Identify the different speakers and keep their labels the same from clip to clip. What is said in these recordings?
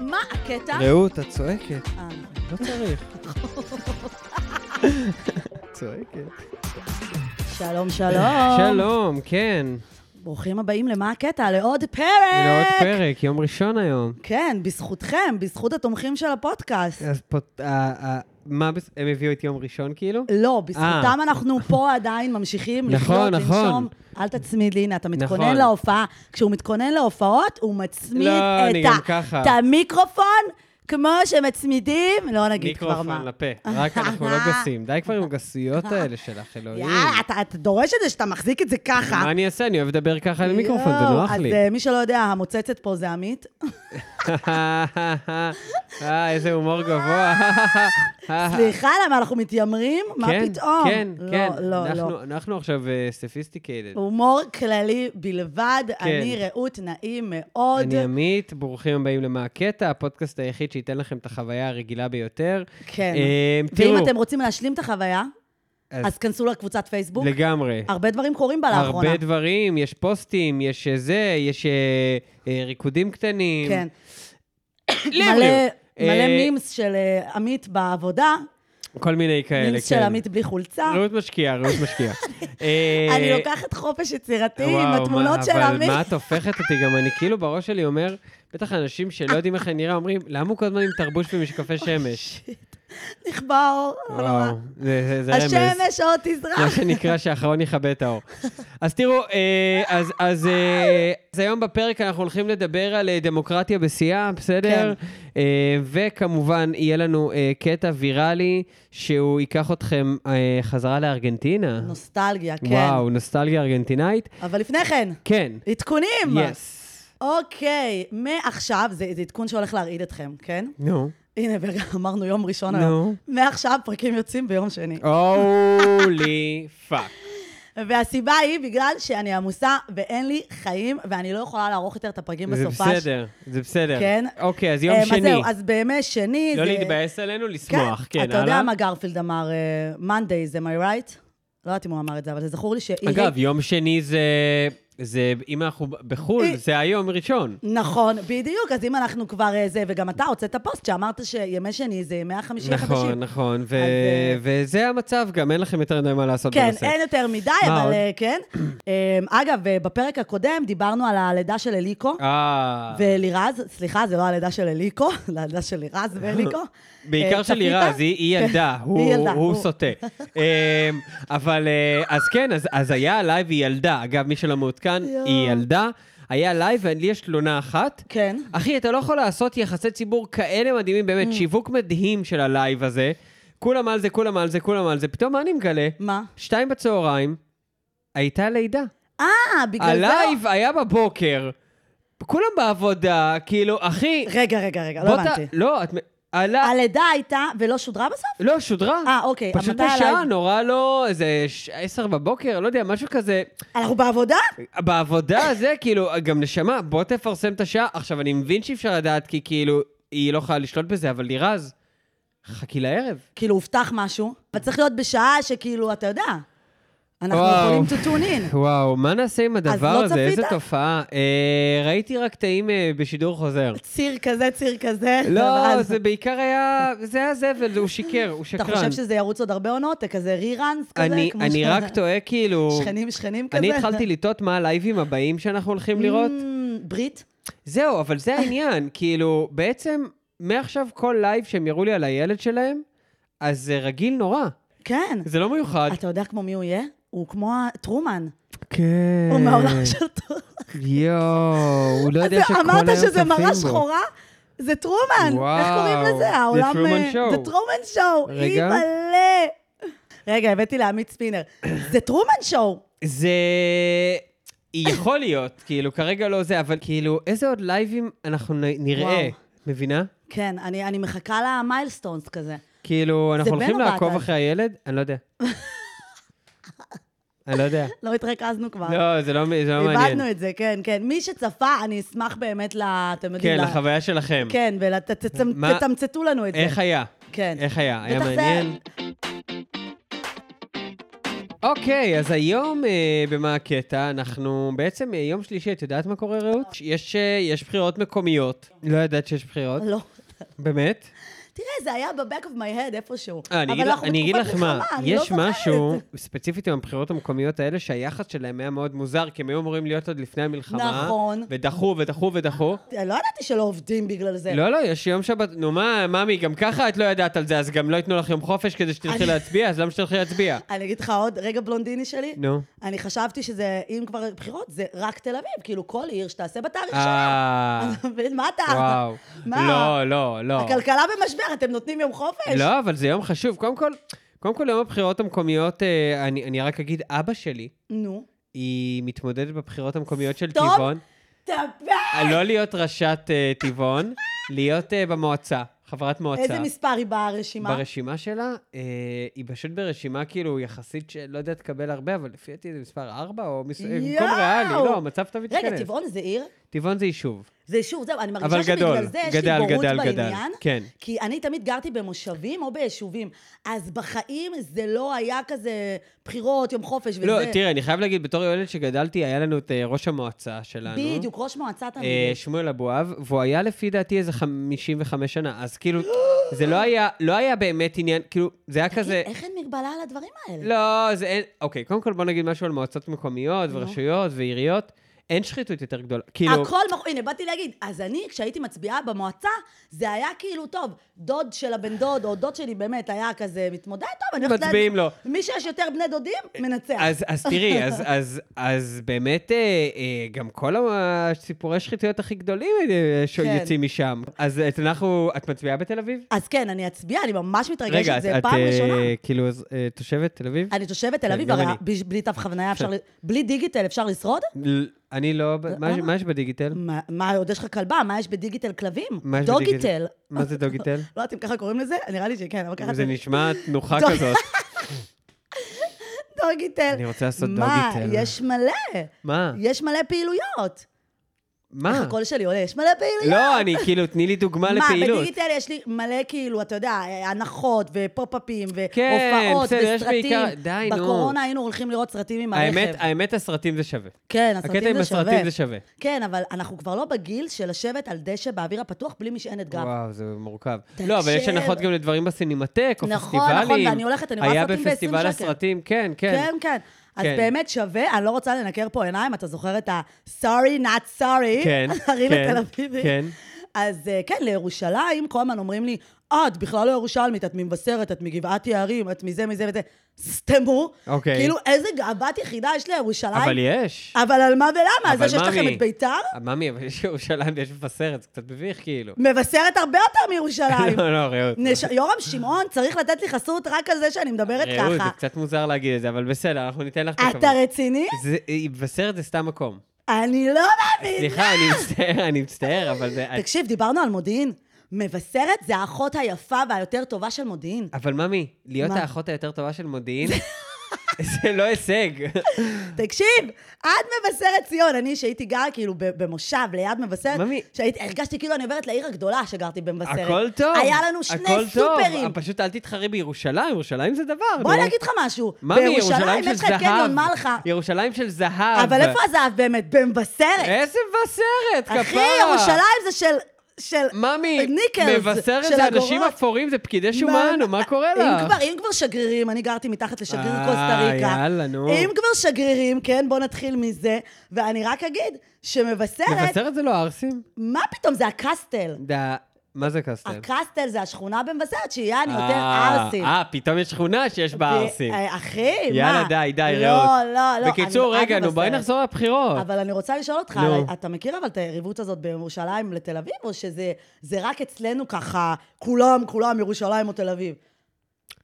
Speaker 1: מה הקטע?
Speaker 2: רעות, את צועקת.
Speaker 1: אה, נכון.
Speaker 2: לא צריך. צועקת.
Speaker 1: שלום, שלום.
Speaker 2: שלום, כן.
Speaker 1: ברוכים הבאים למה הקטע? לעוד פרק!
Speaker 2: הנה עוד פרק, יום ראשון היום.
Speaker 1: כן, בזכותכם, בזכות התומכים של הפודקאסט.
Speaker 2: אז פה, אה, אה, מה, בס- הם הביאו את יום ראשון כאילו?
Speaker 1: לא, בזכותם אנחנו פה עדיין ממשיכים
Speaker 2: נכון,
Speaker 1: לחיות,
Speaker 2: נכון.
Speaker 1: לנשום. אל תצמיד לי, הנה, אתה
Speaker 2: נכון.
Speaker 1: מתכונן להופעה. כשהוא מתכונן להופעות, הוא מצמיד
Speaker 2: לא, אני
Speaker 1: את
Speaker 2: גם
Speaker 1: ה-
Speaker 2: ככה.
Speaker 1: את המיקרופון, כמו שמצמידים, לא נגיד כבר
Speaker 2: מיקרופון
Speaker 1: מה. אה.
Speaker 2: לפה, רק אנחנו לא גסים. די כבר עם הגסויות האלה שלך, אלוהים.
Speaker 1: יאללה, אתה- אתה דורש את זה שאתה מחזיק את זה ככה.
Speaker 2: מה אני אעשה? אני אוהב לדבר ככה על מיקרופון, זה
Speaker 1: יואו,
Speaker 2: נוח
Speaker 1: אז
Speaker 2: לי.
Speaker 1: אה, מי שלא יודע, המוצצת פה זה עמית.
Speaker 2: אה, איזה הומור גבוה.
Speaker 1: אה,
Speaker 2: אה,
Speaker 1: סליחה, למה אנחנו מתיימרים? מה
Speaker 2: כן,
Speaker 1: פתאום?
Speaker 2: כן,
Speaker 1: לא,
Speaker 2: כן.
Speaker 1: לא,
Speaker 2: אנחנו-
Speaker 1: לא.
Speaker 2: אנחנו עכשיו אה, סטפיסטיקיידד.
Speaker 1: הומור כללי בלבד, אני רעות נעים מאוד.
Speaker 2: כן. אני עמית, ברוכים הבאים למה הקטע, הפודקאסט היחיד שייתן לכם את החוויה הרגילה ביותר.
Speaker 1: כן.
Speaker 2: אמ, תראו,
Speaker 1: ואם אתם רוצים להשלים את החוויה,
Speaker 2: אז-
Speaker 1: אז כנסו לקבוצת פייסבוק.
Speaker 2: לגמרי.
Speaker 1: הרבה דברים קורים בה לאחרונה.
Speaker 2: הרבה דברים, יש פוסטים, יש אה, זה, יש אה, אה, ריקודים קטנים.
Speaker 1: כן.
Speaker 2: לב
Speaker 1: מלא-
Speaker 2: לב.
Speaker 1: מלא
Speaker 2: אה,
Speaker 1: מימס של אה, עמית בעבודה,
Speaker 2: כל מיני כאלה, כן.
Speaker 1: מימס של עמית בלי חולצה.
Speaker 2: רעות משקיעה, רעות משקיעה. אה,
Speaker 1: אני לוקחת חופש יצירתי עם
Speaker 2: וואו,
Speaker 1: התמונות
Speaker 2: מה-
Speaker 1: של
Speaker 2: אבל
Speaker 1: עמית.
Speaker 2: מה את הופכת אותי? גם אני כאילו בראש שלי אומר, בטח אנשים שלא יודעים איך אני נראה אומרים, למה הוא כל הזמן עם תרבוש ומשקפי שמש?
Speaker 1: נכבה אור. לא נורא.
Speaker 2: וואו, זה זה- זה רמז.
Speaker 1: השמש עוד
Speaker 2: מה
Speaker 1: תזרח.
Speaker 2: שנקרא שהאחרון יכבה את האור. אז תראו, אה, אז- אז אה, אז היום בפרק אנחנו הולכים לדבר על אה, דמוקרטיה בשיאה, בסדר?
Speaker 1: כן.
Speaker 2: אה, וכמובן, יהיה לנו אה, קטע ויראלי שהוא ייקח אתכם אה, חזרה לארגנטינה.
Speaker 1: נוסטלגיה, כן.
Speaker 2: וואו, נוסטלגיה ארגנטינאית.
Speaker 1: אבל לפני כן,
Speaker 2: כן,
Speaker 1: עדכונים.
Speaker 2: יס.
Speaker 1: אוקיי, מעכשיו, זה זה עדכון שהולך להרעיד אתכם, כן?
Speaker 2: נו.
Speaker 1: הנה, ורגע, אמרנו יום ראשון
Speaker 2: נו.
Speaker 1: היום. מעכשיו פרקים יוצאים ביום שני.
Speaker 2: הולי פאק.
Speaker 1: והסיבה היא בגלל שאני עמוסה ואין לי חיים, ואני לא יכולה לערוך יותר את הפרקים
Speaker 2: זה
Speaker 1: בסופש.
Speaker 2: בסדר, זה בסדר.
Speaker 1: כן.
Speaker 2: אוקיי, אז יום
Speaker 1: אמ, אז
Speaker 2: שני.
Speaker 1: זהו, אז בימי שני
Speaker 2: לא
Speaker 1: זה...
Speaker 2: להתבאס עלינו, לשמוח. כן,
Speaker 1: אתה יודע מה גרפילד אמר, אה, Mondays, am I right? לא יודעת אם הוא אמר את זה, אבל זה זכור לי ש...
Speaker 2: אגב, יום שני זה... זה, אם אנחנו בחו"ל,
Speaker 1: אי-
Speaker 2: זה היום ראשון.
Speaker 1: נכון, בדיוק, אז אם אנחנו כבר אה, זה, וגם אתה הוצאת פוסט שאמרת שימי שני זה ימי החמישי החדשים.
Speaker 2: נכון, נכון, ו-
Speaker 1: אה,
Speaker 2: וזה המצב גם, אין לכם יותר מדי מה לעשות
Speaker 1: כן,
Speaker 2: בנושא.
Speaker 1: אין יותר מדי,
Speaker 2: מה
Speaker 1: אבל
Speaker 2: עוד?
Speaker 1: אה, כן. אה, אגב, אה, בפרק הקודם דיברנו על הלידה של אליקו
Speaker 2: אה,
Speaker 1: ולירז, סליחה, זה לא הלידה של אליקו, זה הלידה של לירז ואליקו.
Speaker 2: בעיקר
Speaker 1: אה,
Speaker 2: של
Speaker 1: צפית?
Speaker 2: לירז, היא- היא ילדה,
Speaker 1: היא
Speaker 2: הוא-
Speaker 1: ילדה,
Speaker 2: הוא
Speaker 1: הוא.
Speaker 2: סוטה. אמ, אבל אה, אז כן, אז- אז היה עליי והיא ילדה. אגב, מי שלא מעודכן,
Speaker 1: יואו.
Speaker 2: היא ילדה. היה עליי ולי יש תלונה אחת.
Speaker 1: כן.
Speaker 2: אחי, אתה לא יכול לעשות יחסי ציבור כאלה מדהימים,
Speaker 1: Mm.
Speaker 2: באמת, שיווק מדהים של הלייב הזה. כולם על זה, כולם על זה, כולם על זה. פתאום מה אני מגלה?
Speaker 1: מה?
Speaker 2: שתיים בצהריים, הייתה לידה.
Speaker 1: אה, בגלל זה... לא-
Speaker 2: הלייב היה בבוקר, כולם בעבודה, כאילו, אחי...
Speaker 1: רגע, רגע, רגע, לא
Speaker 2: בוא ת-
Speaker 1: הבנתי.
Speaker 2: לא, את... מ- עלה...
Speaker 1: הלידה הייתה ולא שודרה בסוף?
Speaker 2: לא, שודרה.
Speaker 1: אה, אוקיי.
Speaker 2: פשוט
Speaker 1: המתי הלייב?
Speaker 2: בשעה נורא לא, איזה ש- עשר בבוקר, לא יודע, משהו כזה.
Speaker 1: אנחנו בעבודה?
Speaker 2: אה, בעבודה זה כאילו, גם נשמה, בוא תפרסם את השעה. עכשיו, אני מבין שאי אפשר לדעת, כי כאילו, היא לא יכולה לשלוט בזה, אבל לירז, חכי לערב.
Speaker 1: כאילו, הובטח משהו, אבל צריך להיות בשעה שכאילו, אתה יודע, אנחנו
Speaker 2: וואו.
Speaker 1: יכולים to tune in.
Speaker 2: וואו, מה נעשה עם הדבר
Speaker 1: לא
Speaker 2: הזה? איזה
Speaker 1: צפית?
Speaker 2: תופעה. אה, ראיתי רק קטעים אה, בשידור חוזר.
Speaker 1: ציר כזה, ציר כזה.
Speaker 2: לא,
Speaker 1: אבל-
Speaker 2: זה בעיקר היה, זה היה זבל, זה- הוא שיקר, הוא שקרן.
Speaker 1: אתה חושב שזה ירוץ עוד הרבה עונות? זה כזה ריראנס כזה?
Speaker 2: אני,
Speaker 1: כמו
Speaker 2: אני
Speaker 1: שאתה-
Speaker 2: רק טועה, כאילו...
Speaker 1: שכנים, שכנים כזה?
Speaker 2: אני התחלתי לטעות מה הלייבים הבאים שאנחנו הולכים לראות.
Speaker 1: Mm, ברית?
Speaker 2: זהו, אבל זה העניין. כאילו, בעצם, מעכשיו כל לייב שהם יראו לי על הילד שלהם, אז זה רגיל נורא.
Speaker 1: כן.
Speaker 2: זה לא מיוחד.
Speaker 1: אתה יודע כמו מי הוא יהיה? הוא כמו טרומן.
Speaker 2: כן.
Speaker 1: הוא מהעולם של טרומן.
Speaker 2: יואו, הוא לא יודע
Speaker 1: אתה
Speaker 2: שכל היום
Speaker 1: אמרת
Speaker 2: צופים בו.
Speaker 1: שזה מראה שחורה? זה טרומן. איך
Speaker 2: וואו,
Speaker 1: קוראים לזה?
Speaker 2: זה
Speaker 1: העולם...
Speaker 2: טרומן
Speaker 1: אה,
Speaker 2: שואו.
Speaker 1: זה טרומן שואו.
Speaker 2: רגע.
Speaker 1: היא מלא. רגע, הבאתי לעמית ספינר. זה טרומן שואו.
Speaker 2: זה... יכול להיות, כאילו, כרגע לא זה, אבל כאילו, איזה עוד לייבים אנחנו נ- נראה?
Speaker 1: וואו.
Speaker 2: מבינה?
Speaker 1: כן, אני אני מחכה למיילסטונס כזה.
Speaker 2: כאילו, אנחנו
Speaker 1: בן
Speaker 2: הולכים
Speaker 1: או בת,
Speaker 2: לעקוב
Speaker 1: אז?
Speaker 2: אחרי הילד? אני לא יודע. אני לא יודע.
Speaker 1: לא התרכזנו כבר.
Speaker 2: לא, זה לא מ- זה לא מעניין.
Speaker 1: איבדנו את זה, כן, כן. מי שצפה, אני אשמח באמת ל... אתם יודעים,
Speaker 2: כן,
Speaker 1: ל-
Speaker 2: לחוויה שלכם.
Speaker 1: כן,
Speaker 2: מה-
Speaker 1: ותתמצתו לנו את זה.
Speaker 2: איך היה?
Speaker 1: כן.
Speaker 2: איך היה? היה
Speaker 1: בטח זה-
Speaker 2: מעניין? אוקיי, אז היום אה, במה הקטע, אנחנו בעצם אה, יום שלישי, את יודעת מה קורה, רעות? יש, אה, יש בחירות מקומיות. לא ידעת שיש בחירות?
Speaker 1: לא.
Speaker 2: באמת?
Speaker 1: תראה, זה היה ב-back of my head איפשהו.
Speaker 2: אה, אני
Speaker 1: אבל
Speaker 2: אגיד, לך-
Speaker 1: אנחנו
Speaker 2: אני אגיד
Speaker 1: בתקופת
Speaker 2: לך מה,
Speaker 1: מלחמה, אני לא
Speaker 2: יש
Speaker 1: זוכרת.
Speaker 2: משהו, ספציפית עם הבחירות המקומיות האלה, שהיחס שלהם היה מאוד מוזר, כי הם היו אמורים להיות עוד לפני המלחמה.
Speaker 1: נכון.
Speaker 2: ודחו ודחו ודחו.
Speaker 1: לא ידעתי שלא עובדים בגלל זה.
Speaker 2: לא, לא, יש יום שבת. נו, מה, ממי, גם ככה את לא ידעת על זה, אז גם לא ייתנו לך יום חופש כדי שתלכי
Speaker 1: אני-
Speaker 2: להצביע, אז למה שתלכי להצביע?
Speaker 1: אני אגיד לך עוד רגע בלונדיני שלי.
Speaker 2: נו.
Speaker 1: אני חשבתי שזה, אם כבר בחירות, זה רק תל אביב. כאילו, כל עיר שתעשה בתאריך שלה.
Speaker 2: אה,
Speaker 1: אתה מבין? מה אתה?
Speaker 2: וואו.
Speaker 1: מה?
Speaker 2: לא, לא, לא.
Speaker 1: הכלכלה במשבר, אתם נותנים יום חופש?
Speaker 2: לא, אבל זה יום חשוב. קודם כל, קודם כל, יום הבחירות המקומיות, אה, אני אני רק אגיד, אבא שלי,
Speaker 1: נו.
Speaker 2: היא מתמודדת בבחירות המקומיות של
Speaker 1: סתום.
Speaker 2: טבעון.
Speaker 1: תפה!
Speaker 2: לא להיות ראשת אה, טבעון, להיות אה, במועצה, חברת מועצה.
Speaker 1: איזה מספר היא ברשימה?
Speaker 2: ברשימה שלה, אה, היא פשוט ברשימה כאילו יחסית שלא יודעת תקבל הרבה, אבל לפי דעתי זה מספר 4 או מס- אה,
Speaker 1: יואו!
Speaker 2: במקום ריאלי, לא, מצב טוב יתכנס.
Speaker 1: רגע, טבעון זה עיר?
Speaker 2: טבעון זה יישוב,
Speaker 1: זה שוב, זהו, אני
Speaker 2: אבל
Speaker 1: מרגישה
Speaker 2: גדול,
Speaker 1: שבגלל זה יש לי
Speaker 2: גדל,
Speaker 1: בורות
Speaker 2: גדל, גדל.
Speaker 1: בעניין.
Speaker 2: כן.
Speaker 1: כי אני תמיד גרתי במושבים או ביישובים, אז בחיים זה לא היה כזה בחירות, יום חופש וזה.
Speaker 2: לא, תראה, אני חייב להגיד, בתור ילד שגדלתי, היה לנו את אה, ראש המועצה שלנו.
Speaker 1: בדיוק, ראש מועצה תמיד.
Speaker 2: אה, שמואל אבואב, והוא היה לפי דעתי איזה 55 שנה, אז כאילו, זה לא היה, לא היה באמת עניין, כאילו, זה היה כזה...
Speaker 1: איך אין מגבלה על הדברים האלה?
Speaker 2: לא, זה אין... אוקיי, קודם כל בוא נגיד משהו על מועצות מקומיות ורשויות ועיריות. אין שחיתות יותר גדולה. כאילו,
Speaker 1: הכל מכ... הנה, באתי להגיד, אז אני, כשהייתי מצביעה במועצה, זה היה כאילו, טוב, דוד של הבן דוד, או דוד שלי באמת היה כזה מתמודד, טוב, אני הולכת...
Speaker 2: מצביעים לו.
Speaker 1: מי שיש יותר בני דודים, מנצח.
Speaker 2: אז, אז תראי, אז, אז, אז באמת, אה, אה, גם כל הסיפורי שחיתויות הכי גדולים אה, ש-
Speaker 1: כן.
Speaker 2: יוצאים משם. אז את- אנחנו, את מצביעה בתל אביב?
Speaker 1: אז כן, אני אצביע, אני ממש מתרגשת, זה
Speaker 2: את,
Speaker 1: פעם
Speaker 2: אה,
Speaker 1: ראשונה.
Speaker 2: כאילו, אז, אה, תושבת תל אביב?
Speaker 1: אני תושבת
Speaker 2: כן,
Speaker 1: תל אביב,
Speaker 2: גם
Speaker 1: הרי
Speaker 2: אני. כן.
Speaker 1: בלי- בלי תו חנייה אפשר... ל- בלי דיגיטל אפשר לשרוד?
Speaker 2: ל- אני לא... ב- מה,
Speaker 1: למה?
Speaker 2: מה יש בדיגיטל?
Speaker 1: מה- מה, עוד יש לך כלבה? מה יש בדיגיטל כלבים?
Speaker 2: כן. מה יש בדיגיטל?
Speaker 1: דוגיטל.
Speaker 2: מה זה דוגיטל?
Speaker 1: לא יודעת אם ככה קוראים לזה, נראה לי שכן, אבל ככה
Speaker 2: זה נשמע תנוחה
Speaker 1: דוג-
Speaker 2: כזאת.
Speaker 1: דוגיטל.
Speaker 2: אני רוצה לעשות
Speaker 1: מה,
Speaker 2: דוגיטל.
Speaker 1: יש מלא.
Speaker 2: מה?
Speaker 1: יש מלא פעילויות. איך
Speaker 2: מה?
Speaker 1: הקול שלי עולה, יש מלא פעילויות.
Speaker 2: אה. לא, אני כאילו, תני לי דוגמה
Speaker 1: מה,
Speaker 2: לפעילות.
Speaker 1: בדיגיטל יש לי מלא כאילו, אתה יודע, הנחות ופופ-אפים
Speaker 2: כן,
Speaker 1: והופעות
Speaker 2: בסדר, יש
Speaker 1: וסרטים.
Speaker 2: בעיקר- די, נו.
Speaker 1: בקורונה היינו הולכים לראות סרטים עם הרכב.
Speaker 2: האמת, האמת, הסרטים זה שווה.
Speaker 1: כן,
Speaker 2: הקטע
Speaker 1: הסרטים
Speaker 2: עם
Speaker 1: זה שווה.
Speaker 2: הסרטים זה שווה.
Speaker 1: כן, אבל אנחנו כבר לא בגיל של לשבת על דשא באוויר הפתוח בלי משענת גב.
Speaker 2: וואו, זה מורכב.
Speaker 1: תקשיב.
Speaker 2: לא, אבל יש הנחות גם לדברים בסינמטק, או
Speaker 1: נכון,
Speaker 2: פסטיבלים.
Speaker 1: נכון, ואני הולכת, אני רואה סרטים ב-
Speaker 2: היה
Speaker 1: 20
Speaker 2: בפסטיבל
Speaker 1: שקל.
Speaker 2: הסרטים, כן, כן.
Speaker 1: כן, כן. אז
Speaker 2: כן.
Speaker 1: באמת שווה, אני לא רוצה לנקר פה עיניים, אתה זוכר את ה-sorry not sorry,
Speaker 2: כן,
Speaker 1: הרים
Speaker 2: כן,
Speaker 1: התל אביבית.
Speaker 2: כן.
Speaker 1: אז אה, כן, לירושלים, כל הזמן אומרים לי, אה, את בכלל לא ירושלמית, את ממבשרת, את מגבעת יערים, את מזה, מזה וזה. סתמו.
Speaker 2: אוקיי.
Speaker 1: כאילו, איזה גאוות יחידה יש לירושלים.
Speaker 2: אבל יש.
Speaker 1: אבל על מה ולמה? זה
Speaker 2: אבל
Speaker 1: שיש לכם
Speaker 2: ממי.
Speaker 1: את ביתר?
Speaker 2: עממי, אבל יש ירושלים ויש מבשרת, זה קצת מביך כאילו.
Speaker 1: מבשרת הרבה יותר מירושלים.
Speaker 2: לא, לא, רעות.
Speaker 1: נש... יורם שמעון צריך לתת לי חסות רק על זה שאני מדברת
Speaker 2: רעות, זה
Speaker 1: ככה.
Speaker 2: קצת מוזר להגיד את זה, אבל בסדר, אנחנו ניתן לך את הכבוד.
Speaker 1: אתה רציני?
Speaker 2: זה- מבשרת זה סתם מקום.
Speaker 1: אני לא מאמין.
Speaker 2: סליחה, אני מצטער, אני מצטער, אבל זה...
Speaker 1: תקשיב, דיברנו על מודיעין. מבשרת זה האחות היפה והיותר טובה של מודיעין.
Speaker 2: אבל ממי, להיות
Speaker 1: מה?
Speaker 2: האחות היותר טובה של מודיעין, זה לא הישג.
Speaker 1: תקשיב, עד מבשרת ציון, אני שהייתי גרה כאילו ב- במושב ליד מבשרת,
Speaker 2: ממי.
Speaker 1: שהייתי, הרגשתי כאילו אני עוברת לעיר הגדולה שגרתי במבשרת.
Speaker 2: הכל טוב.
Speaker 1: היה לנו
Speaker 2: הכל
Speaker 1: שני
Speaker 2: טוב, אה,
Speaker 1: סופרים.
Speaker 2: פשוט אל תתחרי בירושלים, ירושלים זה דבר.
Speaker 1: בוא
Speaker 2: נו.
Speaker 1: אני אגיד לך משהו.
Speaker 2: ממי,
Speaker 1: בירושלים
Speaker 2: של
Speaker 1: יש לך את
Speaker 2: זהב.
Speaker 1: קניון מלחה.
Speaker 2: ירושלים של זהב.
Speaker 1: אבל איפה הזהב באמת? במבשרת.
Speaker 2: איזה מבשרת, כפרה.
Speaker 1: אחי, ירושלים זה של... של...
Speaker 2: ממי,
Speaker 1: ניקלס
Speaker 2: מבשרת
Speaker 1: של
Speaker 2: זה אנשים
Speaker 1: אגורות.
Speaker 2: אפורים, זה פקידי שומן, או מה קורה לך?
Speaker 1: אם כבר, אם כבר שגרירים, אני גרתי מתחת לשגריר
Speaker 2: אה,
Speaker 1: קוסטה ריקה.
Speaker 2: יאללה, נו.
Speaker 1: אם כבר שגרירים, כן, בואו נתחיל מזה. ואני רק אגיד שמבשרת,
Speaker 2: מבשרת זה לא ערסים?
Speaker 1: מה פתאום, זה הקסטל.
Speaker 2: דה- מה זה קסטל?
Speaker 1: הקסטל זה השכונה במבשרת, שהיא יעני יותר
Speaker 2: אה,
Speaker 1: ערסית.
Speaker 2: אה, פתאום יש שכונה שיש בה ערסים.
Speaker 1: אה, אחי, מה?
Speaker 2: יאללה, די, די,
Speaker 1: לא,
Speaker 2: רעות.
Speaker 1: לא, לא.
Speaker 2: בקיצור,
Speaker 1: אני-
Speaker 2: רגע,
Speaker 1: אני
Speaker 2: נו, בואי
Speaker 1: מבשרת.
Speaker 2: נחזור לבחירות.
Speaker 1: אבל אני רוצה לשאול אותך,
Speaker 2: נכון. נו.
Speaker 1: אבל אתה מכיר אבל את היריבות הזאת בירושלים לתל אביב, או שזה זה רק אצלנו ככה, כולם, כולם, ירושלים או תל אביב?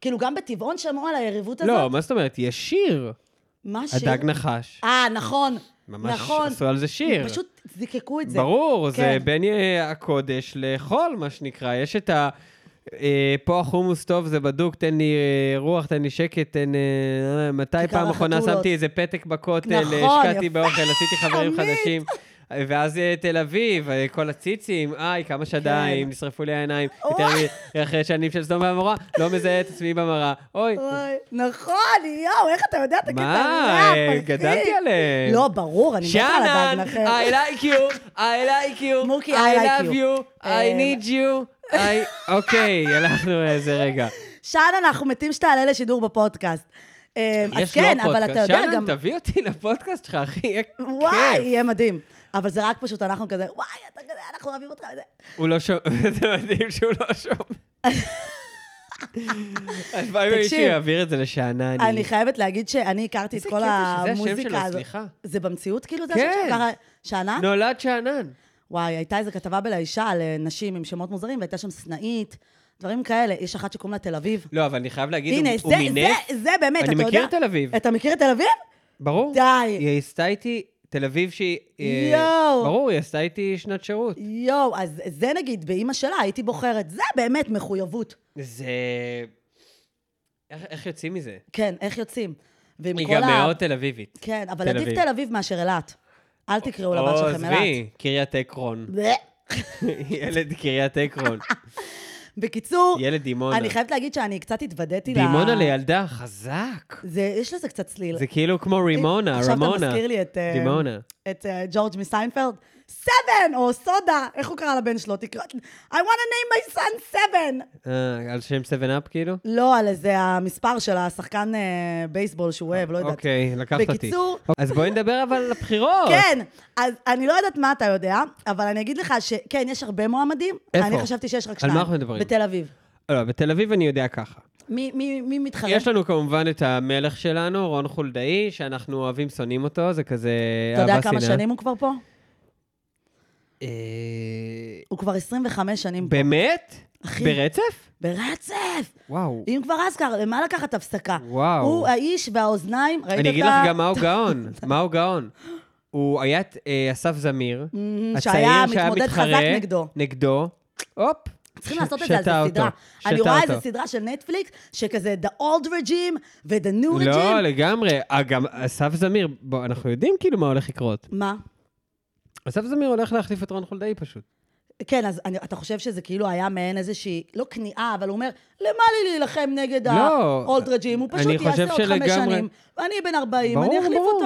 Speaker 1: כאילו, גם בטבעון שמעו על היריבות הזאת?
Speaker 2: לא, מה זאת אומרת? יש שיר.
Speaker 1: מה ש...
Speaker 2: הדג נחש.
Speaker 1: אה, נכון.
Speaker 2: ממש
Speaker 1: נכון.
Speaker 2: עשו על זה שיר.
Speaker 1: פשוט זיקקו את זה.
Speaker 2: ברור, זה
Speaker 1: כן.
Speaker 2: בין אה, הקודש לחול, מה שנקרא. יש את ה... אה, פה החומוס טוב, זה בדוק, תן לי אה, רוח, תן לי שקט, תן... אה, מתי
Speaker 1: כיכר
Speaker 2: פעם אחרונה
Speaker 1: החתולות.
Speaker 2: שמתי איזה פתק בכותל,
Speaker 1: נכון,
Speaker 2: אה, השקעתי
Speaker 1: יפה,
Speaker 2: באוכל, עשיתי חברים
Speaker 1: עמית.
Speaker 2: חדשים. אה, ואז אה, תל אביב, אה, כל הציצים, איי, כמה שדיים,
Speaker 1: כן.
Speaker 2: נשרפו לי העיניים, יותר מ- שנים של סדום ועמורה, לא מזהה את עצמי במראה. אוי,
Speaker 1: אוי, נכון, יואו, איך אתה יודע את הקטע?
Speaker 2: מה? אה,
Speaker 1: הזה? מצחיק.
Speaker 2: גדלתי עליהם.
Speaker 1: לא, ברור, אני מתה על
Speaker 2: שאנן,
Speaker 1: הדג נחם.
Speaker 2: I like you, I like you,
Speaker 1: מוקי, I
Speaker 2: I
Speaker 1: like
Speaker 2: love
Speaker 1: you.
Speaker 2: you, I
Speaker 1: אה,
Speaker 2: need you, I- אוקיי, הלכנו איזה רגע.
Speaker 1: שאן, אנחנו מתים שתעלה לשידור בפודקאסט. אה, אז
Speaker 2: יש
Speaker 1: כן,
Speaker 2: לו
Speaker 1: אבל
Speaker 2: פודקאסט.
Speaker 1: אתה יודע גם...
Speaker 2: שאנן, תביא אותי לפודקאסט שלך, אחי, יהיה
Speaker 1: וואי,
Speaker 2: כיף.
Speaker 1: יהיה מדהים. אבל זה רק פשוט אנחנו כזה, וואי, אתה כזה, אנחנו אוהבים אותך. וזה.
Speaker 2: הוא לא שומע, זה מדהים שהוא לא שומע. הלוואי
Speaker 1: תקשיב,
Speaker 2: מישהו יעביר את זה לשאנני.
Speaker 1: אני חייבת להגיד שאני הכרתי את
Speaker 2: איזה
Speaker 1: כל
Speaker 2: קטע שזה השם שלו,
Speaker 1: המוזיקה הזאת. אה?
Speaker 2: סליחה.
Speaker 1: זה במציאות כאילו? זה
Speaker 2: כן. לא.
Speaker 1: השם שלו? ככה- שאנה?
Speaker 2: נולד שאנן.
Speaker 1: וואי, הייתה איזו כתבה בלאישה על אה, נשים עם שמות מוזרים, והייתה שם שנאית, דברים כאלה. יש אחת שקוראים לה תל אביב.
Speaker 2: לא, אבל אני חייב להגיד,
Speaker 1: הנה,
Speaker 2: הוא-
Speaker 1: זה,
Speaker 2: הוא מינף,
Speaker 1: זה, זה באמת,
Speaker 2: אני
Speaker 1: אתה יודע...
Speaker 2: מכיר את תל אביב.
Speaker 1: אתה מכיר את תל אביב?
Speaker 2: ברור.
Speaker 1: די.
Speaker 2: היא עשתה איתי, תל אביב שהיא... אה,
Speaker 1: יואו.
Speaker 2: ברור, היא עשתה איתי שנת שירות.
Speaker 1: יואו, אז זה נגיד, באימא שלה הייתי בוחרת. זה באמת מחויבות.
Speaker 2: זה... איך איך יוצאים מזה?
Speaker 1: כן, איך יוצאים? ועם
Speaker 2: היא
Speaker 1: כל
Speaker 2: גם
Speaker 1: ה-
Speaker 2: מאוד תל אביבית.
Speaker 1: כן, אבל
Speaker 2: תל
Speaker 1: עדיף
Speaker 2: אביב. אוקיי,
Speaker 1: תל אביב מאשר אילת. אל תקראו לבת שלכם אילת.
Speaker 2: עזבי, קריית עקרון.
Speaker 1: ב-
Speaker 2: ילד קריית עקרון.
Speaker 1: בקיצור,
Speaker 2: ילד דימונה.
Speaker 1: אני חייבת להגיד שאני קצת התוודעתי ל...
Speaker 2: דימונה לילדה, חזק.
Speaker 1: זה, יש לזה קצת צליל.
Speaker 2: זה כאילו כמו רימונה,
Speaker 1: עכשיו אתה
Speaker 2: רמונה.
Speaker 1: מזכיר לי את... אה,
Speaker 2: דימונה.
Speaker 1: את אה, ג'ורג' מסיינפלד. סבן, או סודה, איך הוא קרא לבן שלו? תקרא... I want to name my son סבן.
Speaker 2: אה, על שם 7-up כאילו?
Speaker 1: לא, על איזה המספר של השחקן אה, בייסבול שהוא אוהב, לא יודעת.
Speaker 2: אוקיי, לקחת אותי.
Speaker 1: בקיצור-
Speaker 2: אז בואי נדבר אבל על הבחירות.
Speaker 1: כן, אז אני לא יודעת מה אתה יודע, אבל אני אגיד לך שכן, יש הרבה מועמדים.
Speaker 2: איפה?
Speaker 1: אני חשבתי שיש רק
Speaker 2: על
Speaker 1: שניים.
Speaker 2: מה אנחנו מדברים?
Speaker 1: בתל אביב.
Speaker 2: לא, בתל אביב אני יודע ככה.
Speaker 1: מי- מי מי מתחרה?
Speaker 2: יש לנו כמובן את המלך שלנו, רון חולדאי, שאנחנו אוהבים, שונאים אותו, זה כזה
Speaker 1: אתה
Speaker 2: אהבה
Speaker 1: יודע
Speaker 2: שנאה.
Speaker 1: כמה שנים הוא כבר פה?
Speaker 2: אה,
Speaker 1: הוא כבר 25 שנים פה.
Speaker 2: באמת?
Speaker 1: אחי.
Speaker 2: ברצף?
Speaker 1: ברצף!
Speaker 2: וואו.
Speaker 1: אם כבר אז ככה, למה לקחת הפסקה?
Speaker 2: וואו.
Speaker 1: הוא האיש והאוזניים, ראית
Speaker 2: אני אגיד לך
Speaker 1: אותה?
Speaker 2: גם מה הוא גאון, מה הוא גאון. הוא היה את, אה, אסף זמיר,
Speaker 1: מהמם,
Speaker 2: הצעיר
Speaker 1: שהיה
Speaker 2: שהיה
Speaker 1: מתמודד
Speaker 2: מתחרה
Speaker 1: חזק נגדו.
Speaker 2: נגדו, הופ.
Speaker 1: צריכים
Speaker 2: ש-
Speaker 1: לעשות את זה על זה
Speaker 2: שתה אותו,
Speaker 1: סדרה. אני
Speaker 2: שתה
Speaker 1: רואה
Speaker 2: אותו.
Speaker 1: איזה סדרה של נטפליקס, שכזה The Old Regime ו-The New
Speaker 2: לא,
Speaker 1: Regime.
Speaker 2: לגמרי. אה, גם אסף זמיר, בוא, אנחנו יודעים כאילו מה הולך לקרות.
Speaker 1: מה?
Speaker 2: אסף זמיר הולך להחליף את רון חולדאי פשוט.
Speaker 1: כן, אז אני, אתה חושב שזה כאילו היה מעין איזושהי, לא כניעה, אבל הוא אומר, למה לי להילחם נגד
Speaker 2: לא,
Speaker 1: ה-old regime? הוא פשוט
Speaker 2: אני
Speaker 1: יעשה
Speaker 2: חושב
Speaker 1: עוד חמש
Speaker 2: שלגמרי-
Speaker 1: שנים, ואני בן 40,
Speaker 2: ברור,
Speaker 1: אני אחליף
Speaker 2: ברור.
Speaker 1: אותו.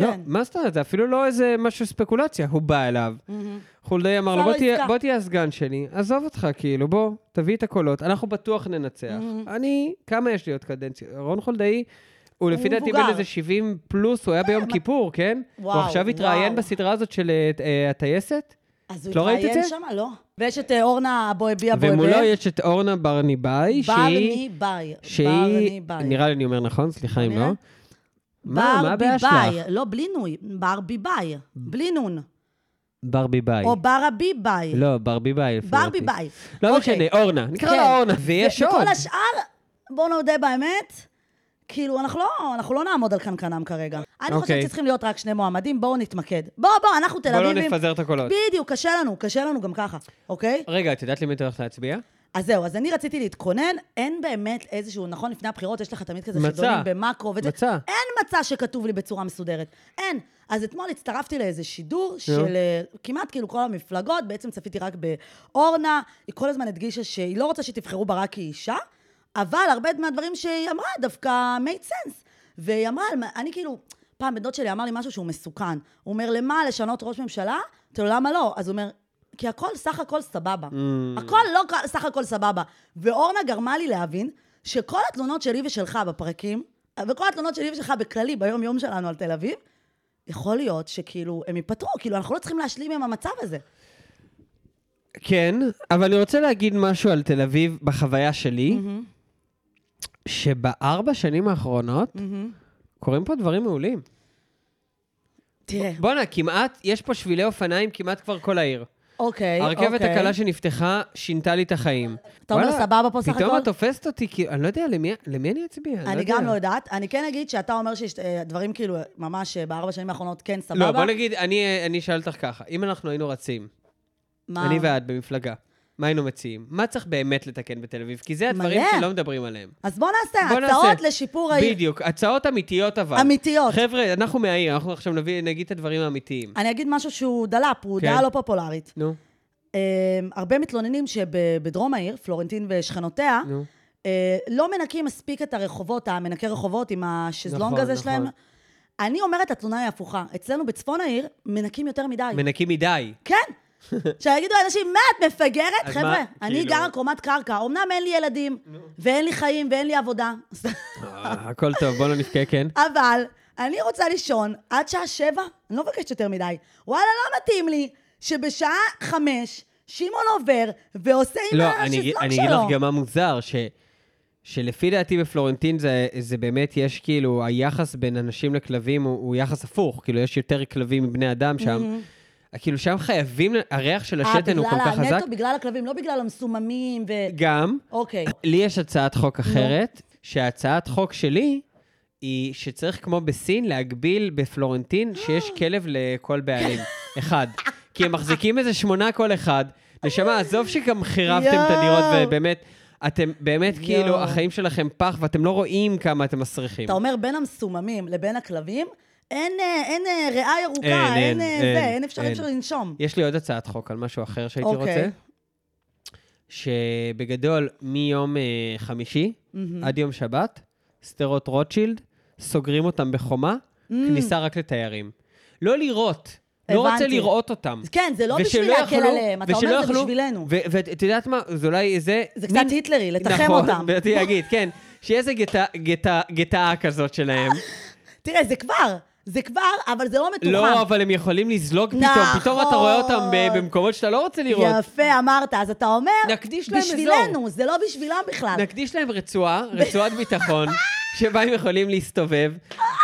Speaker 2: לא,
Speaker 1: כן.
Speaker 2: מה זאת אומרת? זה אפילו לא איזה משהו ספקולציה. הוא בא אליו,
Speaker 1: Mm-hmm.
Speaker 2: חולדאי אמר
Speaker 1: עשה
Speaker 2: לו,
Speaker 1: לו
Speaker 2: "בוא תהיה-
Speaker 1: עסקה."
Speaker 2: בוא תהיה הסגן שלי, עזוב אותך, כאילו, בוא, תביא את הקולות, אנחנו בטוח ננצח.
Speaker 1: Mm-hmm.
Speaker 2: אני, כמה יש לי עוד קדנציה? רון חולדאי, הוא לפי דעתי בן
Speaker 1: מבוגר. אה,
Speaker 2: איזה 70 פלוס, הוא היה ביום כיפור, כן? הוא
Speaker 1: וואו,
Speaker 2: עכשיו התראיין
Speaker 1: וואו.
Speaker 2: בסדרה הזאת של אה, אה, הטייסת,
Speaker 1: אז הוא
Speaker 2: לא ראית את
Speaker 1: התראיין
Speaker 2: זה?
Speaker 1: שם? לא. ויש את אה, אורנה הבויבי הבויבי.
Speaker 2: ומולו יש את אורנה ברניבאי, שהיא...
Speaker 1: ברני ביי.
Speaker 2: שהיא,
Speaker 1: ברני ביי.
Speaker 2: נראה לי אני אומר נכון, סליחה אם
Speaker 1: נראה.
Speaker 2: לא. מה, מה הבעיה שלך?
Speaker 1: ברבי ביי. לא, בלי נוי. ברבי ביי. בלי נון.
Speaker 2: ברבי ביי.
Speaker 1: או ברבי ביי.
Speaker 2: לא, ברבי ביי. לפי
Speaker 1: ברבי
Speaker 2: דעתי.
Speaker 1: ביי.
Speaker 2: לא
Speaker 1: אוקיי.
Speaker 2: משנה, אורנה. נקרא
Speaker 1: כן.
Speaker 2: לה אורנה, ויש עוד.
Speaker 1: וכל השאר, בואו נודה באמת, כאילו, אנחנו לא, אנחנו לא נעמוד על קנקנם כרגע. אני
Speaker 2: אוקיי.
Speaker 1: חושבת שצריכים להיות רק שני מועמדים, בואו נתמקד. בואו, בואו, אנחנו תל
Speaker 2: בוא לא
Speaker 1: אביבים.
Speaker 2: נפזר את הקולות.
Speaker 1: בדיוק, קשה לנו, קשה לנו גם ככה, אוקיי?
Speaker 2: רגע, את יודעת למי את הולכת להצביע?
Speaker 1: אז זהו, אז אני רציתי להתכונן, אין באמת איזשהו, נכון, לפני הבחירות יש לך תמיד כזה
Speaker 2: מצע.
Speaker 1: שדונים במאקרו וזה.
Speaker 2: מצע.
Speaker 1: אין מצע שכתוב לי בצורה מסודרת. אין. אז אתמול הצטרפתי לאיזה שידור של אה, כמעט כאילו כל המפלגות, בעצם צפיתי רק באורנה, היא כל הזמן הדגישה שהיא לא רוצה שתבחרו בה רק כאישה, אבל הרבה מהדברים שהיא אמרה דווקא made sense. והיא אמרה, על מה- אני כאילו, פעם בן דוד שלי אמר לי משהו שהוא מסוכן. הוא אומר, למה לשנות ראש ממשלה? אתה יודע למה לא? אז הוא אומר, כי הכל סך הכל סבבה.
Speaker 2: Mm.
Speaker 1: הכל לא ק- סך הכל סבבה. ואורנה גרמה לי להבין שכל התלונות שלי ושלך בפרקים, וכל התלונות שלי ושלך בכללי ביום-יום שלנו על תל אביב, יכול להיות שכאילו הם ייפתרו, כאילו אנחנו לא צריכים להשלים עם המצב הזה.
Speaker 2: כן, אבל אני רוצה להגיד משהו על תל אביב בחוויה שלי,
Speaker 1: Mm-hmm,
Speaker 2: שבארבע שנים האחרונות
Speaker 1: mm-hmm.
Speaker 2: קורים פה דברים מעולים.
Speaker 1: תראה,
Speaker 2: בואנה, כמעט, יש פה שבילי אופניים כמעט כבר כל העיר.
Speaker 1: אוקיי, אוקיי.
Speaker 2: הרכבת הקלה שנפתחה שינתה לי את החיים.
Speaker 1: אתה אומר
Speaker 2: וואלה,
Speaker 1: סבבה פה סך
Speaker 2: פתאום
Speaker 1: הכל?
Speaker 2: את תופסת אותי, כאילו, אני לא יודע למי- למי אני אצביע.
Speaker 1: אני
Speaker 2: יודע.
Speaker 1: גם לא יודעת. אני כן אגיד שאתה אומר שדברים כאילו ממש אה, בארבע שנים האחרונות כן סבבה.
Speaker 2: לא, בוא נגיד, אני אני אשאל אותך ככה, אם אנחנו היינו רצים,
Speaker 1: מה-
Speaker 2: אני ואת במפלגה, מה היינו מציעים? מה צריך באמת לתקן בתל אביב? כי זה הדברים
Speaker 1: מלא.
Speaker 2: שלא מדברים עליהם.
Speaker 1: אז בוא נעשה
Speaker 2: בוא נעשה.
Speaker 1: הצעות לשיפור העיר.
Speaker 2: בדיוק, הצעות אמיתיות אבל.
Speaker 1: אמיתיות.
Speaker 2: חבר'ה, אנחנו מהעיר, אנחנו עכשיו נביא, נגיד את הדברים האמיתיים.
Speaker 1: אני אגיד משהו שהוא דלאפ, הוא
Speaker 2: כן.
Speaker 1: דעה לא פופולרית.
Speaker 2: נו,
Speaker 1: אמ, הרבה מתלוננים שבדרום העיר, פלורנטין ושכנותיה,
Speaker 2: נו.
Speaker 1: אה, לא מנקים מספיק את הרחובות, המנקי רחובות עם השזלונג
Speaker 2: נכון,
Speaker 1: הזה
Speaker 2: נכון.
Speaker 1: שלהם. אני אומרת, התלונה היא הפוכה. אצלנו בצפון העיר מנקים יותר מדי.
Speaker 2: מנקים מדי.
Speaker 1: כן. שיגידו אנשים, מה, את מפגרת?
Speaker 2: אז
Speaker 1: חבר'ה,
Speaker 2: מה,
Speaker 1: אני
Speaker 2: כאילו-
Speaker 1: גרה קומת קרקע, אמנם אין לי ילדים, ואין לי חיים, ואין לי עבודה,
Speaker 2: אה, הכל טוב, בוא לא נבכה, כן.
Speaker 1: אבל אני רוצה לישון עד שעה שבע, אני לא מבקשת יותר מדי. וואלה, לא מתאים לי שבשעה חמש שמעון עובר ועושה עם
Speaker 2: לא, אני אגיד-
Speaker 1: השזלון
Speaker 2: אני אגיד לך
Speaker 1: שלו.
Speaker 2: גם מה מוזר, ש... שלפי דעתי בפלורנטין זה, זה באמת, יש כאילו, היחס בין אנשים לכלבים הוא, הוא יחס הפוך, כאילו, יש יותר כלבים מבני אדם שם. כאילו, שם חייבים, הריח של
Speaker 1: אה,
Speaker 2: השתן הוא
Speaker 1: בגלל
Speaker 2: כל כך
Speaker 1: הנטו,
Speaker 2: חזק.
Speaker 1: בגלל הכלבים, לא בגלל המסוממים ו...
Speaker 2: גם,
Speaker 1: אוקיי.
Speaker 2: לי יש הצעת חוק אחרת, שהצעת חוק שלי היא שצריך כמו בסין להגביל בפלורנטין שיש כלב לכל בעלים. אחד. כי הם מחזיקים איזה שמונה כל אחד. נשמה, עזוב שגם חירבתם את הדירות
Speaker 1: יואו.
Speaker 2: ובאמת, אתם באמת כאילו,
Speaker 1: יואו.
Speaker 2: החיים שלכם פח ואתם לא רואים כמה אתם מסריחים.
Speaker 1: אתה אומר בין המסוממים לבין הכלבים, אין, אה, אין אה, ריאה
Speaker 2: אין,
Speaker 1: ירוקה, אין,
Speaker 2: אין,
Speaker 1: אה,
Speaker 2: אין,
Speaker 1: זה, אין אפשר
Speaker 2: אין.
Speaker 1: אפשר לנשום.
Speaker 2: יש לי עוד הצעת חוק על משהו אחר שהייתי
Speaker 1: אוקיי.
Speaker 2: רוצה. שבגדול, מיום אה, חמישי
Speaker 1: מהמם.
Speaker 2: עד יום שבת, שדרות רוטשילד, סוגרים אותם בחומה,
Speaker 1: Mm.
Speaker 2: כניסה רק לתיירים. לא לראות, לא רוצה
Speaker 1: הבנתי.
Speaker 2: לראות אותם.
Speaker 1: כן, זה לא בשביל
Speaker 2: ושלא
Speaker 1: להקל
Speaker 2: יאכלו-
Speaker 1: עליהם, אתה
Speaker 2: ושלא
Speaker 1: אומר זה
Speaker 2: יאכלו,
Speaker 1: בשבילנו.
Speaker 2: ו- ואת יודעת מה, זה אולי זה...
Speaker 1: זה קצת
Speaker 2: מין-
Speaker 1: היטלרי, לתחם
Speaker 2: נכון,
Speaker 1: אותם.
Speaker 2: באתי להגיד, כן. שיהיה איזה גטה- גטה- גטאה כזאת שלהם.
Speaker 1: תראה, זה כבר, זה כבר, אבל זה לא מתוחם.
Speaker 2: לא, אבל הם יכולים לזלוג פתאום. פתאום אתה רואה אותם ב-
Speaker 1: נכון.
Speaker 2: במקומות שאתה לא רוצה לראות.
Speaker 1: יפה, אמרת. אז אתה אומר,
Speaker 2: נקדיש להם
Speaker 1: בשבילנו, זה לא בשבילם בכלל.
Speaker 2: נקדיש להם רצועה, רצועת ביטחון, שבה הם יכולים להסתובב,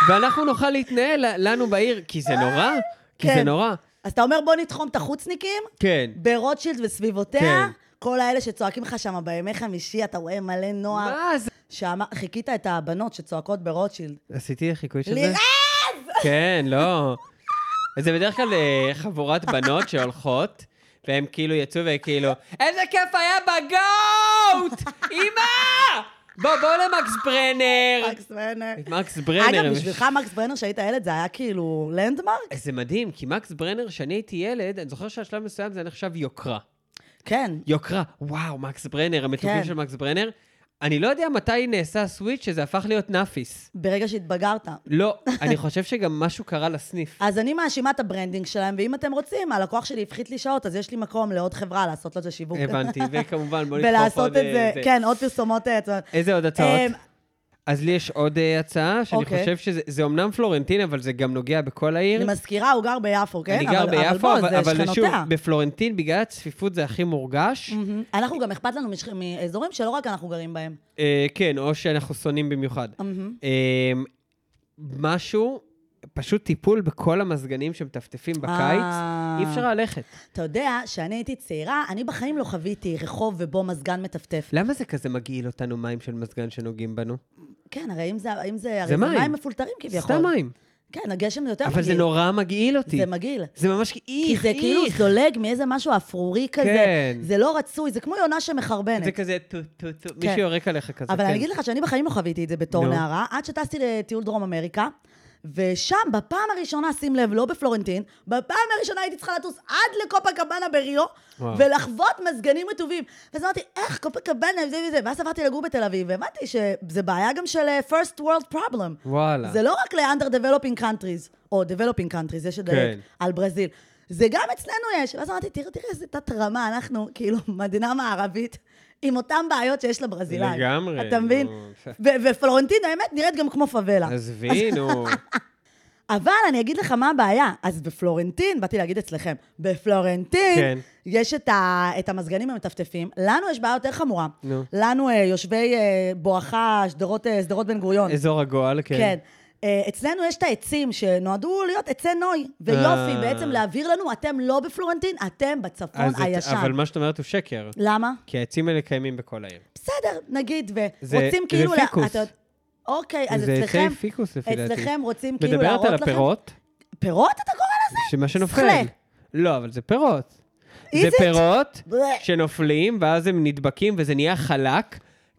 Speaker 2: ואנחנו נוכל להתנהל לנו בעיר, כי זה נורא, כי זה
Speaker 1: כן.
Speaker 2: נורא.
Speaker 1: אז אתה אומר, בוא נתחום את החוצניקים
Speaker 2: כן.
Speaker 1: ברוטשילד וסביבותיה.
Speaker 2: כן.
Speaker 1: כל האלה שצועקים לך שם בימי חמישי, אתה רואה מלא נוער.
Speaker 2: מה זה?
Speaker 1: שאמר- חיכית את הבנות שצועקות ברוטשילד.
Speaker 2: עשיתי חיקוי של זה?
Speaker 1: לירז!
Speaker 2: כן, לא. אז זה בדרך כלל אה, חבורת בנות שהולכות, והם כאילו יצאו וכאילו, איזה כיף היה בגאוט! אמא! בוא, בוא למקס ברנר!
Speaker 1: אה, מקס ברנר.
Speaker 2: מקס ברנר.
Speaker 1: אגב, בשבילך מקס ברנר, שהיית ילד, זה היה כאילו לנדמרק?
Speaker 2: זה מדהים, כי מקס ברנר, כשאני הייתי ילד, אני זוכר שהשלב מסוים זה היה נחשב יוקרה.
Speaker 1: כן.
Speaker 2: יוקרה, וואו, מקס ברנר, המתוקים
Speaker 1: כן.
Speaker 2: של מקס ברנר. אני לא יודע מתי נעשה הסוויץ' שזה הפך להיות נאפיס.
Speaker 1: ברגע שהתבגרת.
Speaker 2: לא, אני חושב שגם משהו קרה לסניף.
Speaker 1: אז אני מאשימה את הברנדינג שלהם, ואם אתם רוצים, הלקוח שלי הפחית לי שעות, אז יש לי מקום לעוד חברה לעשות לו את השיווק.
Speaker 2: הבנתי, וכמובן, בוא
Speaker 1: אה,
Speaker 2: נדחוף
Speaker 1: אוקיי. ולעשות
Speaker 2: עוד...
Speaker 1: את
Speaker 2: אה,
Speaker 1: זה, כן, עוד פרסומות. אה, צועק.
Speaker 2: איזה עוד הצעות?
Speaker 1: אמ,
Speaker 2: אז לי יש עוד אה, הצעה, שאני
Speaker 1: אוקיי.
Speaker 2: חושב שזה זה אומנם פלורנטין, אבל זה גם נוגע בכל העיר.
Speaker 1: אני מזכירה, הוא גר ביפו, כן?
Speaker 2: אני גר
Speaker 1: אבל-
Speaker 2: ביפו, אבל-
Speaker 1: אבל בוא,
Speaker 2: אבל
Speaker 1: זה
Speaker 2: שוב,
Speaker 1: שכנותיה. אמ.
Speaker 2: בפלורנטין, בגלל הצפיפות זה הכי מורגש.
Speaker 1: מהמם. Mm-hmm. אנחנו גם אכפת לנו משכ- מאזורים שלא רק אנחנו גרים בהם.
Speaker 2: אה, כן, או שאנחנו שונאים במיוחד.
Speaker 1: מהמם.
Speaker 2: אמ, משהו, פשוט טיפול בכל המזגנים שמטפטפים בקיץ,
Speaker 1: אה.
Speaker 2: אי אפשר ללכת.
Speaker 1: אתה יודע, כשאני הייתי צעירה, אני בחיים לא חוויתי רחוב ובו מזגן מטפטף.
Speaker 2: למה זה כזה מגעיל אותנו מים של מזגן שנוגעים בנו?
Speaker 1: כן, הרי אם זה, אם זה, הרי זה
Speaker 2: זה מים.
Speaker 1: מים מפולטרים כביכול.
Speaker 2: סתם מים.
Speaker 1: כן, הגשם זה יותר
Speaker 2: אבל זה
Speaker 1: מגעיל.
Speaker 2: נורא מגעיל אותי.
Speaker 1: זה מגעיל.
Speaker 2: זה ממש איך,
Speaker 1: כי
Speaker 2: איך.
Speaker 1: זה כאילו זולג מאיזה משהו אפרורי כזה.
Speaker 2: כן.
Speaker 1: זה לא רצוי, זה כמו יונה שמחרבנת.
Speaker 2: זה כזה טו טו טו, מישהו יורק עליך כזה.
Speaker 1: כן. אבל
Speaker 2: כן.
Speaker 1: אני אגיד לך שאני בחיים לא חוויתי את זה בתור
Speaker 2: נו.
Speaker 1: נערה, עד שטסתי לטיול דרום אמריקה, ושם בפעם הראשונה, שים לב, לא בפלורנטין, בפעם הראשונה הייתי צריכה לטוס עד לקופה קבנה בריו,
Speaker 2: וואו.
Speaker 1: ולחוות מזגנים רטובים. ואז אמרתי, איך קופה קבנה וזה וזה, ואז עברתי לגור בתל אביב, והבנתי שזה בעיה גם של אה, first world problem.
Speaker 2: וואלה.
Speaker 1: זה לא רק ל-under developing countries, או developing countries, יש לדייק,
Speaker 2: כן.
Speaker 1: על ברזיל. זה גם אצלנו יש. ואז אמרתי, תראה, תראה איזה תת-רמה, אנחנו כאילו מדינה מערבית, עם אותן בעיות שיש לברזילאים.
Speaker 2: לגמרי,
Speaker 1: אתה מבין?
Speaker 2: נו.
Speaker 1: ו- ופלורנטין, האמת, נראית גם כמו פאבלה.
Speaker 2: עזבי, נו.
Speaker 1: נכון. אבל אני אגיד לך מה הבעיה. אז בפלורנטין, באתי להגיד אצלכם, בפלורנטין
Speaker 2: כן.
Speaker 1: יש את, ה, את המזגנים המטפטפים, לנו יש בעיה יותר חמורה.
Speaker 2: נו.
Speaker 1: לנו, אה, יושבי אה, בואכה, שדרות, אה, שדרות בן גוריון.
Speaker 2: אזור הגועל, כן.
Speaker 1: כן. אה, אצלנו יש את העצים שנועדו להיות עצי נוי, ויופי
Speaker 2: אה.
Speaker 1: בעצם להבהיר לנו, אתם לא בפלורנטין, אתם בצפון
Speaker 2: אז את-
Speaker 1: נכון, הישן. לא.
Speaker 2: אבל מה שאת אומרת הוא שקר.
Speaker 1: למה?
Speaker 2: כי העצים האלה קיימים בכל העיר.
Speaker 1: בסדר, נגיד,
Speaker 2: זה-
Speaker 1: ורוצים
Speaker 2: זה
Speaker 1: כאילו... לה-
Speaker 2: פיקוס.
Speaker 1: אתה- אוקיי, אז
Speaker 2: זה
Speaker 1: אצלכם,
Speaker 2: עצי פיקוס לפי דעתי.
Speaker 1: אצלכם רוצים כאילו להראות
Speaker 2: מדברת
Speaker 1: לכם...
Speaker 2: על הפירות,
Speaker 1: פירות אתה קורא לזה?
Speaker 2: שמה שנופל.
Speaker 1: שכלה.
Speaker 2: לא, אבל זה פירות. זה
Speaker 1: it?
Speaker 2: פירות
Speaker 1: בלה.
Speaker 2: שנופלים, ואז הם נדבקים וזה נהיה חלק.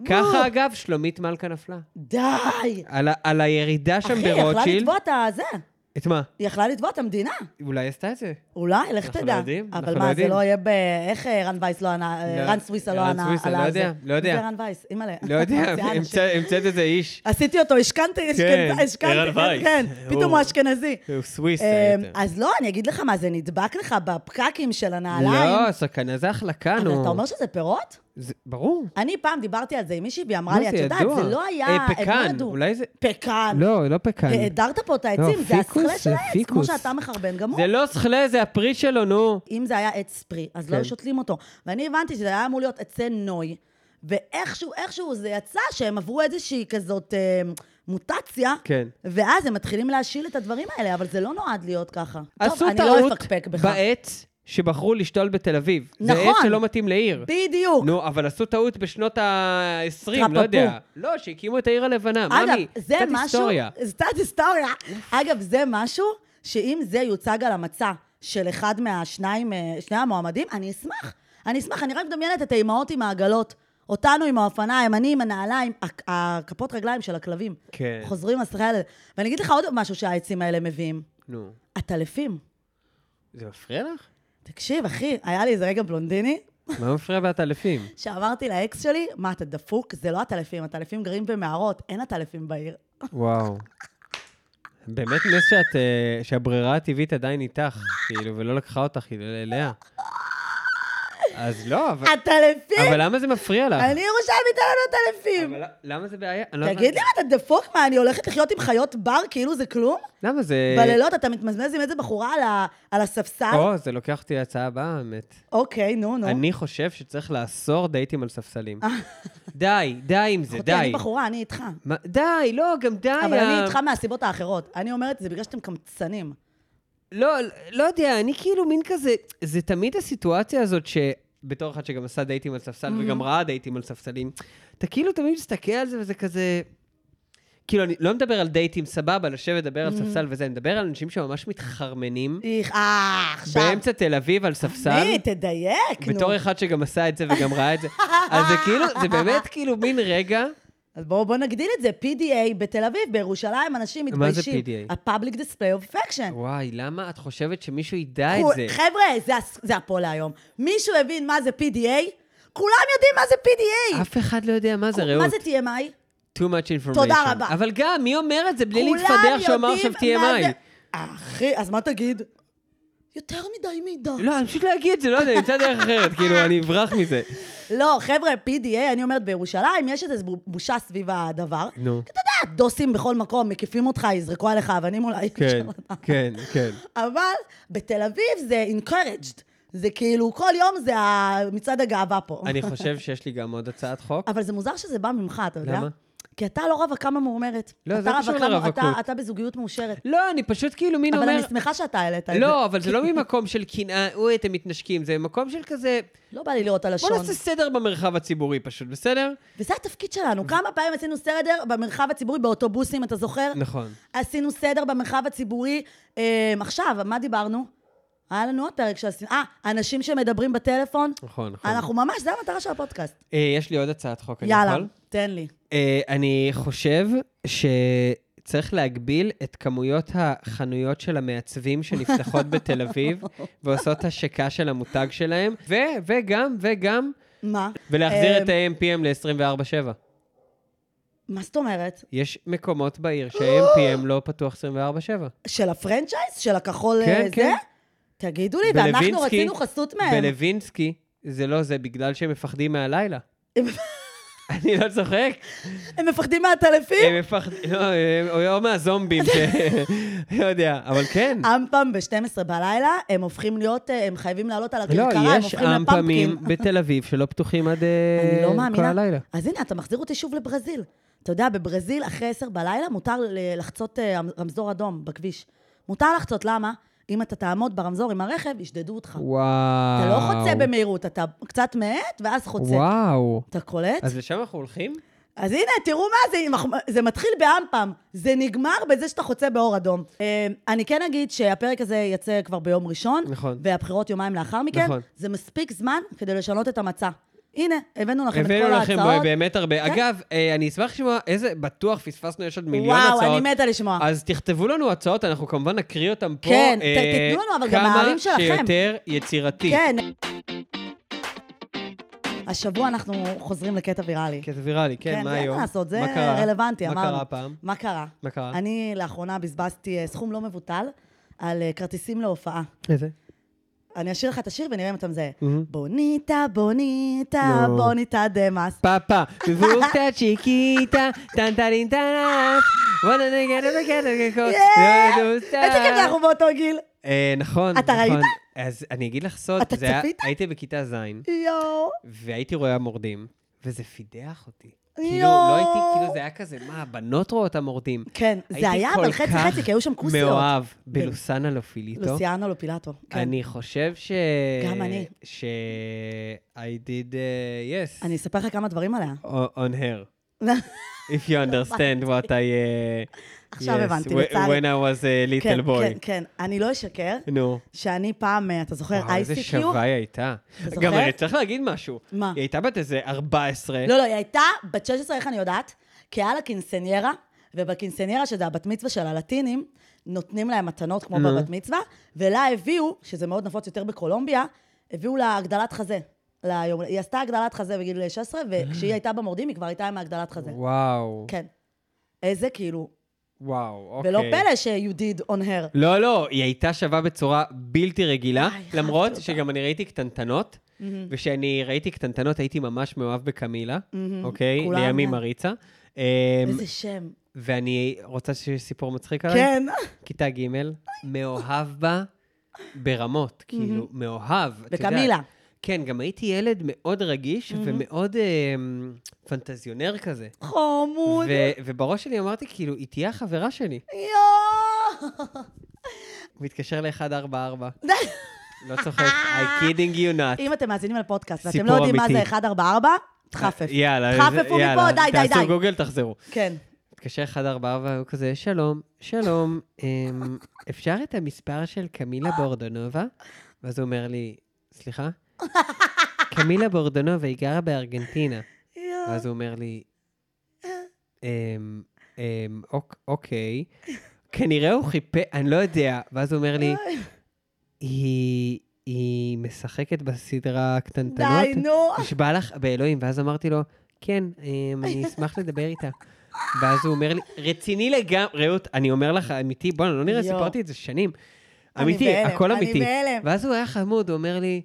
Speaker 2: ככה, אגב, שלומית מלכה נפלה.
Speaker 1: די!
Speaker 2: על, ה- על הירידה שם
Speaker 1: אחי,
Speaker 2: ברוטשילד.
Speaker 1: היא יכלה לתבוע את הזה.
Speaker 2: את מה?
Speaker 1: היא יכלה לתבוע את המדינה.
Speaker 2: אולי היא עשתה את זה.
Speaker 1: אולי, לך
Speaker 2: אנחנו
Speaker 1: תדע.
Speaker 2: לא יודעים, אנחנו
Speaker 1: אבל
Speaker 2: לא
Speaker 1: מה, זה
Speaker 2: יודעים.
Speaker 1: לא יהיה ב... איך אה, רן וייס לא ענה, אה,
Speaker 2: לא,
Speaker 1: רן סוויסה לא
Speaker 2: רן
Speaker 1: ענה
Speaker 2: סוויסה,
Speaker 1: על
Speaker 2: לא יודע,
Speaker 1: הזה.
Speaker 2: לא יודע.
Speaker 1: זה רן וייס, אימא'לה.
Speaker 2: לא יודע,
Speaker 1: מוציאה אנשים.
Speaker 2: המצא- המצאת איזה איש.
Speaker 1: עשיתי אותו, השכנתי,
Speaker 2: כן,
Speaker 1: השכנתי, השכנתי,
Speaker 2: ערן וייס.
Speaker 1: כן, פתאום
Speaker 2: הוא-
Speaker 1: הוא אשכנזי.
Speaker 2: הוא סוויס.
Speaker 1: אה,
Speaker 2: היית.
Speaker 1: אז לא, אני אגיד לך מה, זה נדבק לך בפקקים של הנעליים.
Speaker 2: לא, סכנה, זה החלקה,
Speaker 1: אבל
Speaker 2: נו.
Speaker 1: אתה אומר שזה פירות?
Speaker 2: זה- ברור.
Speaker 1: אני פעם דיברתי על זה עם מישהי, והיא אמרה
Speaker 2: נו,
Speaker 1: לי, את
Speaker 2: זה
Speaker 1: יודעת,
Speaker 2: ידוע.
Speaker 1: זה לא היה...
Speaker 2: אה,
Speaker 1: הם לא
Speaker 2: פקן,
Speaker 1: ידעו." אה,
Speaker 2: אולי זה...
Speaker 1: פקן.
Speaker 2: לא, לא פקן.
Speaker 1: האדרת פה את העצים, זה
Speaker 2: פיקוס,
Speaker 1: הסכלה של
Speaker 2: זה
Speaker 1: העץ, כמו
Speaker 2: פיקוס.
Speaker 1: שאתה מחרבן גם הוא.
Speaker 2: זה לא סכלה, זה הפרי שלו, נו.
Speaker 1: אם זה היה עץ פרי, אז לא
Speaker 2: כן.
Speaker 1: היו שותלים אותו. ואני הבנתי שזה היה אמור להיות עצי נוי, ואיכשהו, איכשהו זה יצא שהם עברו איזושהי כזאת אה, מוטציה,
Speaker 2: כן.
Speaker 1: ואז הם מתחילים להשיל את הדברים האלה, אבל זה לא נועד להיות ככה. טוב,
Speaker 2: עשו
Speaker 1: אני לא
Speaker 2: טעות
Speaker 1: אפקפק בך.
Speaker 2: בעץ שבחרו לשתול בתל אביב. זה
Speaker 1: נכון.
Speaker 2: עץ שלא מתאים לעיר.
Speaker 1: בדיוק.
Speaker 2: נו, אבל עשו טעות בשנות ה-20, לא
Speaker 1: טרפפו.
Speaker 2: יודע. לא, שהקימו את העיר הלבנה.
Speaker 1: אגב,
Speaker 2: מאמי,
Speaker 1: זה
Speaker 2: קצת
Speaker 1: משהו...
Speaker 2: היסטוריה.
Speaker 1: זה קצת היסטוריה. אגב, זה משהו שאם זה יוצג על המצע של אחד מהשניים, אה, שני המועמדים, אני אשמח. אני אשמח, אני רק מדמיינת את האימהות עם העגלות. אותנו עם האופניים, אני עם הנעליים, הכ- הכפות רגליים של הכלבים.
Speaker 2: כן.
Speaker 1: חוזרים הסרטה האלה. ואני אגיד לך עוד משהו שהעצים האלה מביאים.
Speaker 2: נו,
Speaker 1: עטלפים.
Speaker 2: זה מפריע לך?
Speaker 1: תקשיב, אחי, היה לי איזה רגע בלונדיני,
Speaker 2: מה מפריע בעטלפים?
Speaker 1: שאמרתי לאקס שלי, מה, אתה דפוק? זה לא עטלפים, עטלפים גרים במערות, אין עטלפים בעיר.
Speaker 2: וואו. באמת נס שאת, אה, שהברירה הטבעית עדיין איתך, כאילו, ולא לקחה אותך כאילו, אליה. אז לא, אבל,
Speaker 1: עטלפים!
Speaker 2: אבל למה זה מפריע לך?
Speaker 1: אני ירושלמית, אין לנו עטלפים!
Speaker 2: אבל למה זה בעיה? אני לא
Speaker 1: תגיד
Speaker 2: הבנתי.
Speaker 1: לי, מה, אתה דפוק? מה, אני הולכת לחיות עם חיות בר כאילו זה כלום?
Speaker 2: למה זה...
Speaker 1: בלילות אתה מתמזמז עם איזה בחורה על ה- על הספסל?
Speaker 2: אה, או, זה לוקח אותי להצעה הבאה, האמת.
Speaker 1: אוקיי, נו, אה. נו.
Speaker 2: אני חושב שצריך לאסור דייטים על ספסלים. די, די עם זה,
Speaker 1: אחותי,
Speaker 2: די.
Speaker 1: אני בחורה, אני איתך.
Speaker 2: מה- די, לא, גם די.
Speaker 1: אבל אני
Speaker 2: ה-
Speaker 1: איתך מהסיבות האחרות. אני אומרת, זה בגלל שאתם קמצנים.
Speaker 2: לא, לא יודע, אני כאילו מין כזה, זה תמיד הסיטואציה הזאת ש... בתור אחד שגם עשה דייטים על ספסל וגם
Speaker 1: Mm-hmm.
Speaker 2: ראה דייטים על ספסלים, אתה כאילו תמיד מסתכל על זה וזה כזה... כאילו, אני לא מדבר על דייטים סבבה, לשבת לדבר על
Speaker 1: Mm-hmm.
Speaker 2: ספסל וזה, אני מדבר על אנשים שממש מתחרמנים
Speaker 1: איך, אה, עכשיו.
Speaker 2: באמצע תל אביב על ספסל.
Speaker 1: מי, תדייק, נו.
Speaker 2: בתור אחד שגם עשה את זה וגם ראה את זה. אז זה כאילו, זה באמת כאילו מין רגע,
Speaker 1: אז בואו בואו נגדיל את זה. PDA בתל אביב, בירושלים, אנשים
Speaker 2: מה זה
Speaker 1: מתביישים.
Speaker 2: PDA?
Speaker 1: ה-Public Display of Affection.
Speaker 2: וואי, למה את חושבת שמישהו ידע את
Speaker 1: כול-
Speaker 2: זה?
Speaker 1: חבר'ה, זה הס- זה הפועל להיום. מישהו הבין מה זה PDA? כולם יודעים מה זה PDA!
Speaker 2: אף אחד לא יודע מה זה
Speaker 1: מה
Speaker 2: רעות.
Speaker 1: זה TMI?
Speaker 2: too much information.
Speaker 1: תודה רבה.
Speaker 2: אבל גם, מי אומר את זה בלי
Speaker 1: כולם
Speaker 2: להתפדח שהוא אמר עכשיו
Speaker 1: יודעים מה
Speaker 2: TMI?
Speaker 1: זה- אחי, אז מה תגיד? יותר מדי מידע.
Speaker 2: לא, אני פשוט לא אגיד את זה, לא יודע, נמצא דרך אחרת, כאילו, אני אברח מזה.
Speaker 1: לא, חבר'ה, PDA, אני אומרת, בירושלים יש איזו בושה סביב הדבר.
Speaker 2: נו.
Speaker 1: כי אתה יודע, דוסים בכל מקום, מקיפים אותך, יזרקו עליך אבנים אולי.
Speaker 2: כן, כן, כן.
Speaker 1: אבל בתל אביב זה encouraged. זה כאילו, כל יום זה ה- מצעד הגאווה פה.
Speaker 2: אני חושב שיש לי גם עוד הצעת חוק.
Speaker 1: אבל זה מוזר שזה בא ממך, אתה יודע?
Speaker 2: למה?
Speaker 1: כי אתה לא רווקה ממורמרת.
Speaker 2: לא, זה
Speaker 1: אתה
Speaker 2: לא קשור
Speaker 1: רווקה-
Speaker 2: לרווקות.
Speaker 1: אתה- אתה בזוגיות מאושרת.
Speaker 2: לא, אני פשוט כאילו מין
Speaker 1: אבל
Speaker 2: אומר...
Speaker 1: אני שמחה שאתה העלית את זה.
Speaker 2: לא, אבל זה לא ממקום של קנאה, אוי, אתם מתנשקים, זה מקום של כזה...
Speaker 1: לא בא לי לראות על
Speaker 2: בוא
Speaker 1: השון.
Speaker 2: נעשה סדר במרחב הציבורי פשוט, בסדר?
Speaker 1: וזה התפקיד שלנו. כמה פעמים עשינו סדר במרחב הציבורי באוטובוסים, אתה זוכר?
Speaker 2: נכון.
Speaker 1: עשינו סדר במרחב הציבורי. אה, עכשיו, מה דיברנו? היה לנו עוד פרק שעשינו... אה, אנשים שמדברים בטלפון.
Speaker 2: נכון, נכון.
Speaker 1: אנחנו ממש, זה המטרה של הפודקאסט.
Speaker 2: אה, יש לי עוד הצעת חוק, אני
Speaker 1: יאללה,
Speaker 2: יכול?
Speaker 1: תן לי.
Speaker 2: אה, אני חושב שצריך להגביל את כמויות החנויות של המעצבים שנפתחות בתל אביב ועושות השקה של המותג שלהם, ו- וגם, וגם,
Speaker 1: מה?
Speaker 2: ולהחזיר את
Speaker 1: אה,
Speaker 2: ה-MPM ל-24/7.
Speaker 1: מה זאת אומרת?
Speaker 2: יש מקומות בעיר שה-MPM לא פתוח 24/7.
Speaker 1: של הפרנצ'ייז? של הכחול
Speaker 2: כן,
Speaker 1: אה, זה?
Speaker 2: כן.
Speaker 1: תגידו לי, ואנחנו
Speaker 2: בלווינסקי-
Speaker 1: רצינו חסות מהם.
Speaker 2: בלווינסקי זה לא זה, בגלל שהם מפחדים מהלילה. אני לא צוחק.
Speaker 1: הם מפחדים מהטלפים?
Speaker 2: הם מפחדים, לא, הם- או מהזומבים, ש- לא יודע, אבל כן.
Speaker 1: אמפם ב-12 בלילה, הם הופכים להיות, אה, הם חייבים לעלות על
Speaker 2: לא,
Speaker 1: הכרכרה, הם
Speaker 2: יש
Speaker 1: הופכים לפמפקין.
Speaker 2: אמפמים בתל אביב שלא פתוחים עד
Speaker 1: אני
Speaker 2: אה,
Speaker 1: לא
Speaker 2: כל
Speaker 1: מאמינה.
Speaker 2: הלילה.
Speaker 1: אז הנה, אתה מחזיר אותי שוב לברזיל. אתה יודע, בברזיל, אחרי 10 בלילה, מותר ל- לחצות אה, רמזור אדום בכביש. מותר לחצות, למה? אם אתה תעמוד ברמזור עם הרכב, ישדדו אותך.
Speaker 2: וואו.
Speaker 1: אתה לא חוצה במהירות, אתה קצת מאט, ואז חוצה.
Speaker 2: וואו.
Speaker 1: אתה קולט?
Speaker 2: אז לשם אנחנו הולכים?
Speaker 1: אז הנה, תראו מה זה, אם אנחנו- זה מתחיל באמפם, זה נגמר בזה שאתה חוצה באור אדום. אה, אני כן אגיד שהפרק הזה יצא כבר ביום ראשון,
Speaker 2: נכון.
Speaker 1: והבחירות יומיים לאחר מכן,
Speaker 2: נכון.
Speaker 1: זה מספיק זמן כדי לשנות את המצע. הנה, הבאנו לכם את כל
Speaker 2: הבאנו לכם
Speaker 1: ההצעות.
Speaker 2: באמת הרבה.
Speaker 1: כן.
Speaker 2: אגב, אה, אני אשמח לשמוע איזה, בטוח פספסנו, יש עוד מיליון הצעות.
Speaker 1: וואו, אני מתה לשמוע.
Speaker 2: אז תכתבו לנו הצעות, אנחנו כמובן נקריא אותן פה.
Speaker 1: כן, ת-
Speaker 2: אה,
Speaker 1: תתנו לנו, אבל גם הערים שלכם.
Speaker 2: כמה שיותר יצירתי.
Speaker 1: כן. השבוע אנחנו חוזרים לקטע ויראלי.
Speaker 2: כי זה ויראלי, כן, מה היום?
Speaker 1: אין מה לעשות, זה
Speaker 2: מה קרה?
Speaker 1: רלוונטי,
Speaker 2: מה
Speaker 1: אמרנו.
Speaker 2: קרה הפעם?
Speaker 1: מה קרה?
Speaker 2: מה קרה?
Speaker 1: אני לאחרונה בזבזתי אה, סכום לא מבוטל על אה, כרטיסים להופעה.
Speaker 2: איזה?
Speaker 1: אני אשאיר לך את השיר ונראה אם אתה מזהה.
Speaker 2: מהמם.
Speaker 1: בוניטה, בוניטה,
Speaker 2: נו.
Speaker 1: בוניטה דמאס.
Speaker 2: פאפה, מבוקטה צ'יקיטה, טנטלין טנאס, וואלה נגד נגד נגד
Speaker 1: יאה! איזה כיף אנחנו באותו גיל.
Speaker 2: נכון,
Speaker 1: אתה
Speaker 2: נכון.
Speaker 1: ראית?
Speaker 2: אז אני אגיד לך סוד,
Speaker 1: אתה
Speaker 2: זה היה-
Speaker 1: צפית?
Speaker 2: הייתי בכיתה ז',
Speaker 1: יואו.
Speaker 2: והייתי רואה המורדים, וזה פידח אותי. כאילו,
Speaker 1: יואו.
Speaker 2: לא הייתי, כאילו זה היה כזה, מה, הבנות רואות המורדים.
Speaker 1: כן,
Speaker 2: הייתי
Speaker 1: זה היה
Speaker 2: כל
Speaker 1: אבל חצי
Speaker 2: כך
Speaker 1: חצי, כי היו שם כוסיות.
Speaker 2: מאוהב בלוסנה לופיליטו.
Speaker 1: לוסיאנו לופילטו. כן.
Speaker 2: אני חושב ש...
Speaker 1: גם אני.
Speaker 2: ש... I did uh, yes
Speaker 1: אני אספר לך כמה דברים עליה.
Speaker 2: o- on her. If you understand what I... Uh,
Speaker 1: עכשיו
Speaker 2: yes,
Speaker 1: הבנתי,
Speaker 2: whe-
Speaker 1: לצערי.
Speaker 2: When I was a
Speaker 1: כן,
Speaker 2: little
Speaker 1: כן,
Speaker 2: boy.
Speaker 1: כן. אני לא אשקר
Speaker 2: נו.
Speaker 1: שאני פעם, אה, אתה זוכר,
Speaker 2: וואו, איזה
Speaker 1: ICQ?
Speaker 2: שווה היא הייתה.
Speaker 1: אתה
Speaker 2: גם
Speaker 1: זוכר?
Speaker 2: אני צריך להגיד משהו.
Speaker 1: מה?
Speaker 2: היא הייתה בת איזה 14.
Speaker 1: לא, לא, היא הייתה בת 16, איך אני יודעת? כי היה לה קינסניירה, ובקינסניירה, שזה הבת מצווה של הלטינים, נותנים להם מתנות כמו
Speaker 2: נו.
Speaker 1: בבת מצווה, ולה הביאו, שזה מאוד נפוץ יותר בקולומביה, הביאו לה הגדלת חזה. ליום, היא עשתה הגדלת חזה בגיל 16, וכשהיא הייתה במורדים, היא כבר הייתה עם ההגדלת חזה.
Speaker 2: וואו.
Speaker 1: לא. כן. איזה כאילו,
Speaker 2: וואו, אוקיי.
Speaker 1: ולא פלא ש-you did on her.
Speaker 2: לא, לא, היא הייתה שווה בצורה בלתי רגילה,
Speaker 1: וואי, אהבתי
Speaker 2: למרות
Speaker 1: אותה.
Speaker 2: שגם אני ראיתי קטנטנות,
Speaker 1: Mm-hmm.
Speaker 2: וכשאני ראיתי קטנטנות הייתי ממש מאוהב בקמילה,
Speaker 1: מהמם.
Speaker 2: אוקיי?
Speaker 1: כולם,
Speaker 2: לימים
Speaker 1: Mm-hmm. כן.
Speaker 2: עריצה. אמ,
Speaker 1: איזה שם.
Speaker 2: ואני רוצה שיש סיפור מצחיק עליי?
Speaker 1: כן.
Speaker 2: כיתה ג', מאוהב בה ברמות, כאילו, מאוהב. את יודעת.
Speaker 1: בקמילה.
Speaker 2: כן, גם הייתי ילד מאוד רגיש ומאוד אמ, פנטזיונר כזה.
Speaker 1: חמוד.
Speaker 2: ו- ובראש שלי אמרתי, כאילו, היא תהיה החברה שלי.
Speaker 1: יואו.
Speaker 2: הוא התקשר ל-144. לא צוחק, I kidding you not.
Speaker 1: אם אתם מאזינים לפודקאסט ואתם
Speaker 2: סיפור
Speaker 1: לא יודעים מה זה
Speaker 2: אמיתי. אה,
Speaker 1: 144, תחפף.
Speaker 2: יאללה,
Speaker 1: תחפפו
Speaker 2: יאללה,
Speaker 1: מפה, די, די,
Speaker 2: תעשו
Speaker 1: די.
Speaker 2: גוגל, תחזרו.
Speaker 1: כן.
Speaker 2: התקשר אחד ארבעה והיו כזה, שלום, שלום, אמ, אפשר את המספר של קמילה בורדונובה? ואז הוא אומר לי, סליחה? קמילה בורדונובה, היא גרה בארגנטינה.
Speaker 1: יואו.
Speaker 2: ואז הוא אומר לי, אמ, אמ, אוק- אוקיי, כנראה הוא חיפש, אני לא יודע. ואז הוא אומר לי, היא היא משחקת בסדרה הקטנטנות?
Speaker 1: די, נו.
Speaker 2: נשבע לך באלוהים. ואז אמרתי לו, כן, אמ, אני אשמח לדבר איתה. ואז הוא אומר לי, רציני לגמרי, רעות, אני אומר לך, אמיתי, בוא'נה, לא נראה,
Speaker 1: יואו.
Speaker 2: סיפרתי את זה שנים.
Speaker 1: אני
Speaker 2: אמיתי,
Speaker 1: בהלם,
Speaker 2: הכל
Speaker 1: אני
Speaker 2: אמיתי.
Speaker 1: בהלם.
Speaker 2: ואז הוא היה חמוד, הוא אומר לי,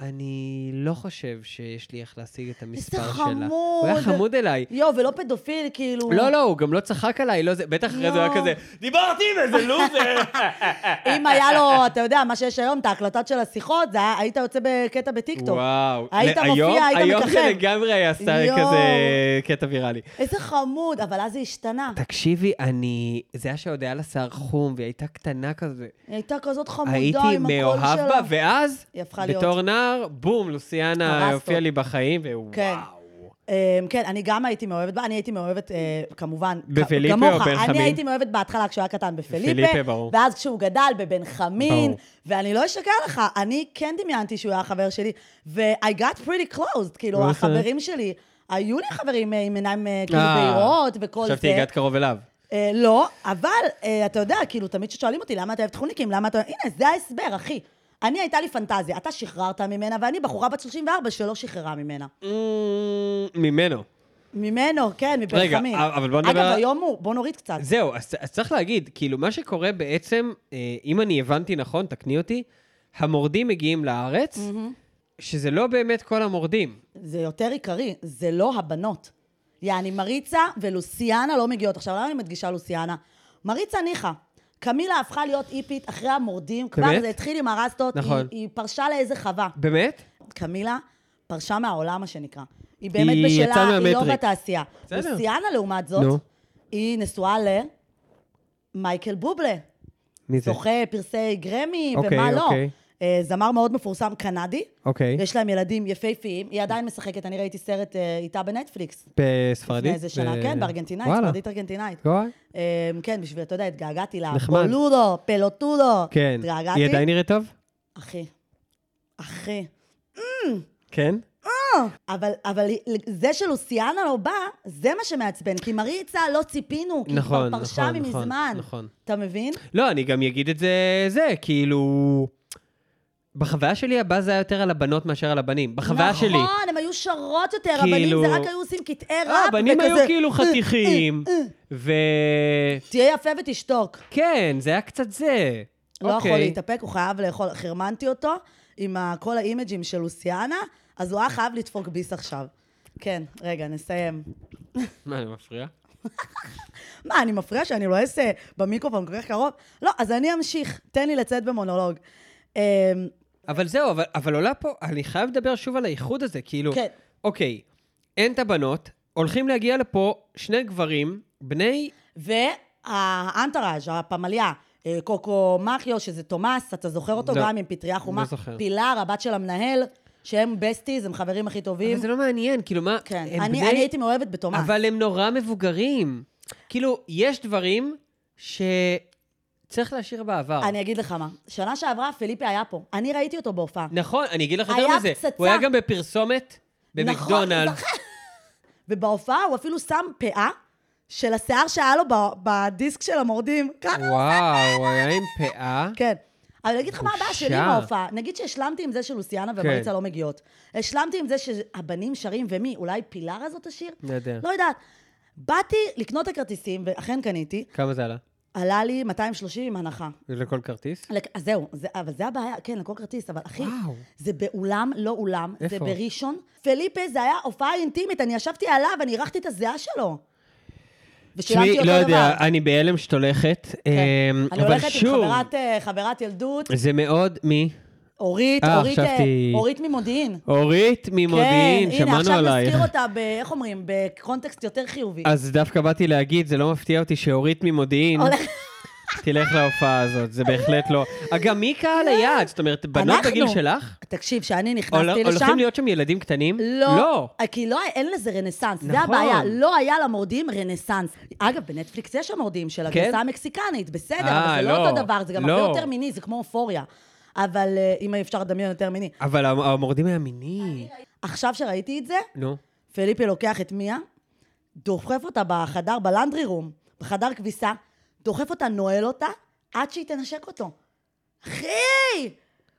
Speaker 2: אני לא חושב שיש לי איך להשיג את המספר שלה. הוא היה
Speaker 1: חמוד.
Speaker 2: חמוד אליי.
Speaker 1: יואו, ולא פדופיל, כאילו.
Speaker 2: לא, לא, הוא גם לא צחק עליי, לא זה, בטח אחרי זה הוא היה
Speaker 1: יואו.
Speaker 2: כזה, דיברתי עם איזה לוזר.
Speaker 1: אם היה לו, אתה יודע, מה שיש היום, את ההקלטות של השיחות, זה היה- היית יוצא בקטע בטיקטוק.
Speaker 2: וואו.
Speaker 1: היית
Speaker 2: ל-
Speaker 1: מופיע,
Speaker 2: היום-
Speaker 1: היית
Speaker 2: היום זה
Speaker 1: מככב.
Speaker 2: לגמרי היה סטייל
Speaker 1: יואו.
Speaker 2: כזה קטע ויראלי.
Speaker 1: איזה חמוד, אבל אז זה השתנה.
Speaker 2: תקשיבי, אני... זה היה שעוד היה לה שיער חום, והיא הייתה קטנה כזה.
Speaker 1: היא הייתה כזאת חמודה עם הקול
Speaker 2: הייתי
Speaker 1: שלה.
Speaker 2: מאוהב בה, ואז,
Speaker 1: היא הפכה להיות.
Speaker 2: בתור נער, בום, לוסיאנה
Speaker 1: הרסת
Speaker 2: הופיעה
Speaker 1: אותה.
Speaker 2: לי בחיים, ווואו. אה.
Speaker 1: כן. אמ, כן, אני גם הייתי מאוהבת בה, אני הייתי מאוהבת, אה, כמובן, כ-
Speaker 2: בפליפה או
Speaker 1: כמוך.
Speaker 2: בן חמין?
Speaker 1: אני הייתי מאוהבת בהתחלה כשהוא היה קטן בפליפה,
Speaker 2: בפליפה, ברור.
Speaker 1: ואז כשהוא גדל בבן חמין,
Speaker 2: ברור.
Speaker 1: ואני לא אשקר לך, אני כן דמיינתי שהוא היה חבר שלי, ו-I got pretty closed,
Speaker 2: מה
Speaker 1: כאילו,
Speaker 2: זאת אומרת?
Speaker 1: החברים שלי, היו לי חברים אה, עם עיניים אה, כאילו
Speaker 2: אה,
Speaker 1: בהירות וכל זה.
Speaker 2: חשבתי, הגעת קרוב אליו.
Speaker 1: אה, לא, אבל אה, אתה יודע, כאילו, תמיד כששואלים אותי למה אתה אוהב חוניקים, למה אתה... הנה, זה ההסבר, אחי. אני, הייתה לי פנטזיה, אתה שחררת ממנה, ואני בחורה בת 34 שלא שחררה ממנה.
Speaker 2: Mm, ממנו.
Speaker 1: ממנו, כן, מבן
Speaker 2: רגע,
Speaker 1: חמין.
Speaker 2: אבל בוא נדבר-
Speaker 1: אגב, היום הוא, בוא נוריד קצת.
Speaker 2: זהו, אז, אז צריך להגיד, כאילו, מה שקורה בעצם, אה, אם אני הבנתי נכון, תקני אותי, המורדים מגיעים לארץ, שזה לא באמת כל המורדים.
Speaker 1: זה יותר עיקרי, זה לא הבנות. יעני, מריצה ולוסיאנה לא מגיעות. עכשיו, למה אני מדגישה לוסיאנה? מריצה ניחא. קמילה הפכה להיות איפית אחרי המורדים, כבר
Speaker 2: באמת?
Speaker 1: זה התחיל עם הרסטות,
Speaker 2: נכון.
Speaker 1: היא, היא פרשה לאיזה חווה.
Speaker 2: באמת?
Speaker 1: קמילה פרשה מהעולם, מה שנקרא. היא באמת
Speaker 2: היא
Speaker 1: בשלה,
Speaker 2: יצאה
Speaker 1: היא לא
Speaker 2: מהמטריקס.
Speaker 1: בתעשייה.
Speaker 2: בסדר.
Speaker 1: לוסיאנה, לעומת
Speaker 2: נו.
Speaker 1: זאת, היא נשואה למייקל בובלה.
Speaker 2: מי
Speaker 1: זוכה פרסי גרמי
Speaker 2: אוקיי,
Speaker 1: ומה לא.
Speaker 2: אוקיי.
Speaker 1: אה, זמר מאוד מפורסם קנדי.
Speaker 2: אוקיי.
Speaker 1: יש להם ילדים יפהפיים, היא עדיין משחקת, אני ראיתי סרט אה, איתה בנטפליקס.
Speaker 2: בספרדית?
Speaker 1: לפני איזה שנה,
Speaker 2: ב-
Speaker 1: כן, בארגנטינאית,
Speaker 2: אה, וואלה.
Speaker 1: ספרדית ארגנטינאית.
Speaker 2: וואי.
Speaker 1: אה, כן, בשביל, אתה יודע, התגעגעתי לה.
Speaker 2: נחמד.
Speaker 1: בולודו, פלוטודו.
Speaker 2: כן.
Speaker 1: התגעגעתי.
Speaker 2: היא עדיין נראית טוב?
Speaker 1: אחי, אחי. כאילו,
Speaker 2: כן.
Speaker 1: אבל, אבל זה שלוסיאנה לא באה, זה מה שמעצבן. כי מריצה, לא ציפינו, כי היא
Speaker 2: נכון,
Speaker 1: כבר
Speaker 2: נכון,
Speaker 1: פרשה
Speaker 2: נכון,
Speaker 1: ממזמן.
Speaker 2: נכון.
Speaker 1: אתה מבין?
Speaker 2: לא, אני גם אגיד את זה, זה, כאילו... בחוויה שלי הבא זה היה יותר על הבנות מאשר על הבנים. בחוויה שלי.
Speaker 1: נכון, הם היו שרות יותר,
Speaker 2: כאילו- לא,
Speaker 1: הבנים זה רק היו עושים קטעי ראפ וכזה.
Speaker 2: הבנים היו כאילו
Speaker 1: "אה, אה,
Speaker 2: חתיכים,
Speaker 1: אה,
Speaker 2: ו...
Speaker 1: תהיה יפה ותשתוק.
Speaker 2: כן, זה היה קצת זה.
Speaker 1: לא יכול
Speaker 2: אוקיי.
Speaker 1: להתאפק, הוא חייב לאכול. חרמנתי אותו עם ה- כל האימג'ים של לוסיאנה, אז הוא היה חייב לדפוק ביס עכשיו. כן, רגע, נסיים.
Speaker 2: מה, אני מפריע?
Speaker 1: מה, אני מפריע שאני לועס אה, במיקרופון כל כך קרוב? לא, אז אני אמשיך. תן לי לצאת במונולוג. אמ,
Speaker 2: אבל זהו, אבל, אבל עולה פה, אני חייב לדבר שוב על האיחוד הזה, כאילו,
Speaker 1: כן.
Speaker 2: אוקיי, אין את הבנות, הולכים להגיע לפה שני גברים, בני...
Speaker 1: והאנטראז', הפמליה, אה, קוקו מחיו, שזה תומאס, אתה זוכר אותו
Speaker 2: לא.
Speaker 1: גם עם פטריה חומה?
Speaker 2: לא זוכר.
Speaker 1: פילר, הבת של המנהל, שהם בסטיז, הם חברים הכי טובים.
Speaker 2: אבל זה לא מעניין, כאילו, מה...
Speaker 1: כן,
Speaker 2: הם
Speaker 1: אני,
Speaker 2: בני-
Speaker 1: אני הייתי מאוהבת בתומאס.
Speaker 2: אבל הם נורא מבוגרים. כאילו, יש דברים שצריך להשאיר בעבר.
Speaker 1: אני אגיד לך מה, שנה שעברה פיליפי היה פה, אני ראיתי אותו בהופעה.
Speaker 2: נכון, אני אגיד לך יותר
Speaker 1: היה
Speaker 2: מזה.
Speaker 1: פצצה.
Speaker 2: הוא היה גם בפרסומת, במקדונלדס.
Speaker 1: נכון, ובהופעה הוא אפילו שם פאה של השיער שהיה לו ב- בדיסק של המורדים. ככה.
Speaker 2: וואו, הוא היה עם פאה.
Speaker 1: כן. אבל אני אגיד לך מה הבעיה שלי
Speaker 2: בושה.
Speaker 1: בהופעה. נגיד שהשלמתי עם זה שלוסיאנה ומריצה
Speaker 2: כן.
Speaker 1: לא מגיעות. השלמתי עם זה שהבנים שרים, ומי? אולי פילר הזאת תשיר?
Speaker 2: לא יודע.
Speaker 1: לא יודעת. באתי לקנות את הכרטיסים, ואכן קניתי,
Speaker 2: כמה זה עלה?
Speaker 1: עלה לי 230 עם הנחה.
Speaker 2: לכל כרטיס?
Speaker 1: לק- אז זהו, זה, אבל זה הבעיה, כן, לכל כרטיס, אבל אחי,
Speaker 2: וואו.
Speaker 1: זה באולם, לא אולם, זה
Speaker 2: איפה?
Speaker 1: בראשון. פליפה, זה היה הופעה אינטימית, אני ישבתי עליו, אני אירחתי את הזיעה שלו. ושילמתי
Speaker 2: תשמעי,
Speaker 1: אותו
Speaker 2: לא
Speaker 1: דבר.
Speaker 2: יודע, אני בהלם שאת הולכת.
Speaker 1: כן.
Speaker 2: אמ,
Speaker 1: אני
Speaker 2: אבל
Speaker 1: הולכת עם
Speaker 2: שוב,
Speaker 1: חברת, אה, חברת ילדות,
Speaker 2: זה מאוד מי?
Speaker 1: אורית,
Speaker 2: אה,
Speaker 1: אורית, אה,
Speaker 2: חשבתי-
Speaker 1: אורית ממודיעין. עורית
Speaker 2: אורית ממודיעין, שמענו
Speaker 1: כן, הנה, עכשיו
Speaker 2: עלייך.
Speaker 1: נזכיר אותה, ב- איך אומרים, בקונטקסט יותר חיובי.
Speaker 2: אז דווקא באתי להגיד, זה לא מפתיע אותי שאורית ממודיעין
Speaker 1: הולך-
Speaker 2: תלך להופעה הזאת, זה בהחלט לא. אגב, מי קהל היעד? זאת אומרת, בנות
Speaker 1: אנחנו.
Speaker 2: בגיל שלך?
Speaker 1: תקשיב, כשאני
Speaker 2: הול-
Speaker 1: נכנסתי לשם...
Speaker 2: הולכים להיות שם ילדים קטנים?
Speaker 1: לא.
Speaker 2: לא.
Speaker 1: כי לא, אין לזה רנסאנס,
Speaker 2: נכון.
Speaker 1: זה הבעיה. לא היה למורדים רנסאנס. אגב, בנטפליקס יש המורדים של
Speaker 2: כן?
Speaker 1: הגרסה המקסיקנית, בסדר,
Speaker 2: אה,
Speaker 1: אבל זה לא
Speaker 2: לא.
Speaker 1: אותו דבר, זה גם
Speaker 2: לא.
Speaker 1: הרבה יותר מיני, זה כמו אופוריה. אבל אה, אם אפשר לדמיין יותר מיני.
Speaker 2: אבל המ- המורדים היה מיני.
Speaker 1: עכשיו שראיתי את זה,
Speaker 2: נו.
Speaker 1: פליפי לוקח את מיה, דוחף אותה בחדר, בלנדרי רום, בחדר כביסה, דוחף אותה, נועל אותה, עד שהיא תנשק אותו. אחי!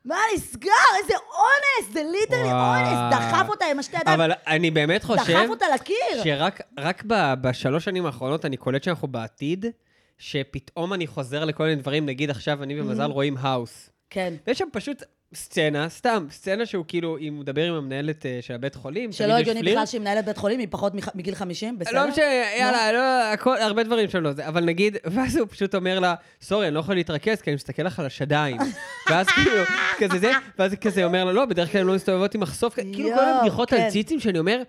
Speaker 1: מה נסגר? איזה אונס! זה ליטרלי
Speaker 2: וואו.
Speaker 1: אונס! דחף אותה עם השתי ידיים,
Speaker 2: אבל אני באמת חושב
Speaker 1: דחף אותה לקיר!
Speaker 2: שרק רק ב- בשלוש שנים האחרונות אני קולט שאנחנו בעתיד, שפתאום אני חוזר לכל מיני דברים, נגיד עכשיו אני
Speaker 1: Mm-hmm.
Speaker 2: ומזל רואים האוס.
Speaker 1: כן.
Speaker 2: ויש שם פשוט סצנה, סתם, סצנה שהוא כאילו, אם הוא מדבר עם המנהלת אה, של הבית חולים,
Speaker 1: שלא
Speaker 2: תמיד יש
Speaker 1: הגיוני
Speaker 2: פלירט.
Speaker 1: בכלל שהיא מנהלת בית חולים, היא פחות מח- מגיל 50, בסדר?
Speaker 2: לא משנה, יאללה, לא, הכל, הרבה דברים שם לא זה, אבל נגיד, ואז הוא פשוט אומר לה, סורי, אני לא יכול להתרכז, כי אני מסתכל לך על השדיים. ואז כאילו, כזה זה, ואז היא כזה אומר לה, לא, בדרך כלל הן לא מסתובבות עם מחשוף, כאילו
Speaker 1: יואו,
Speaker 2: כל הבדיחות על
Speaker 1: כן.
Speaker 2: ציצים, שאני אומר,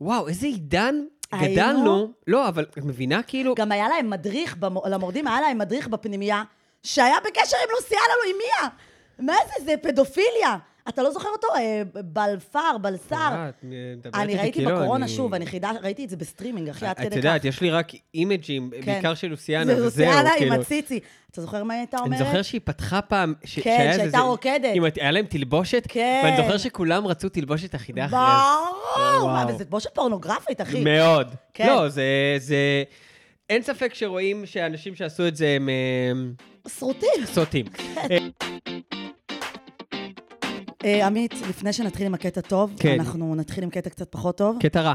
Speaker 2: וואו, איזה עידן
Speaker 1: היינו-
Speaker 2: גדלנו. לא, אבל את מבינה, כאילו,
Speaker 1: גם היה להם מדריך, במו- למורדים היה להם מדריך בפנימייה, שהיה בקשר עם לוסיאנה, לא עם מיה! מה זה? זה פדופיליה! אתה לא זוכר אותו? אה, בלפר, בלסר.
Speaker 2: אה, את מדברת
Speaker 1: אני
Speaker 2: איתי
Speaker 1: ראיתי
Speaker 2: כאילו,
Speaker 1: בקורונה
Speaker 2: אני- אה,
Speaker 1: שוב, אני חידה, ראיתי את זה בסטרימינג, אחי, עד כדי כך.
Speaker 2: את יודעת, יש לי רק אימג'ים, בעיקר של לוסיאנה,
Speaker 1: כן. זה
Speaker 2: וזהו,
Speaker 1: לוסיאנה עם
Speaker 2: כאילו.
Speaker 1: הציצי. אתה זוכר מה היא הייתה
Speaker 2: אני
Speaker 1: אומרת?
Speaker 2: זוכר שהיא פתחה פעם, ש-
Speaker 1: כן,
Speaker 2: שהיה איזה-
Speaker 1: שהייתה
Speaker 2: זה-
Speaker 1: רוקדת.
Speaker 2: עם- היה להם תלבושת,
Speaker 1: כן.
Speaker 2: ואני זוכר שכולם רצו תלבושת אחידה אחרי
Speaker 1: ברור! מה,
Speaker 2: וואו.
Speaker 1: וזה בושת פורנוגרפית, אחי.
Speaker 2: מאוד.
Speaker 1: כן.
Speaker 2: לא, זה, זה... אין ספק שרואים שאנשים שעשו את זה הם אה,
Speaker 1: סרוטים.
Speaker 2: סוטים.
Speaker 1: אה, עמית, לפני שנתחיל עם הקטע טוב,
Speaker 2: כן.
Speaker 1: אנחנו נתחיל עם קטע קצת פחות טוב.
Speaker 2: קטע רע.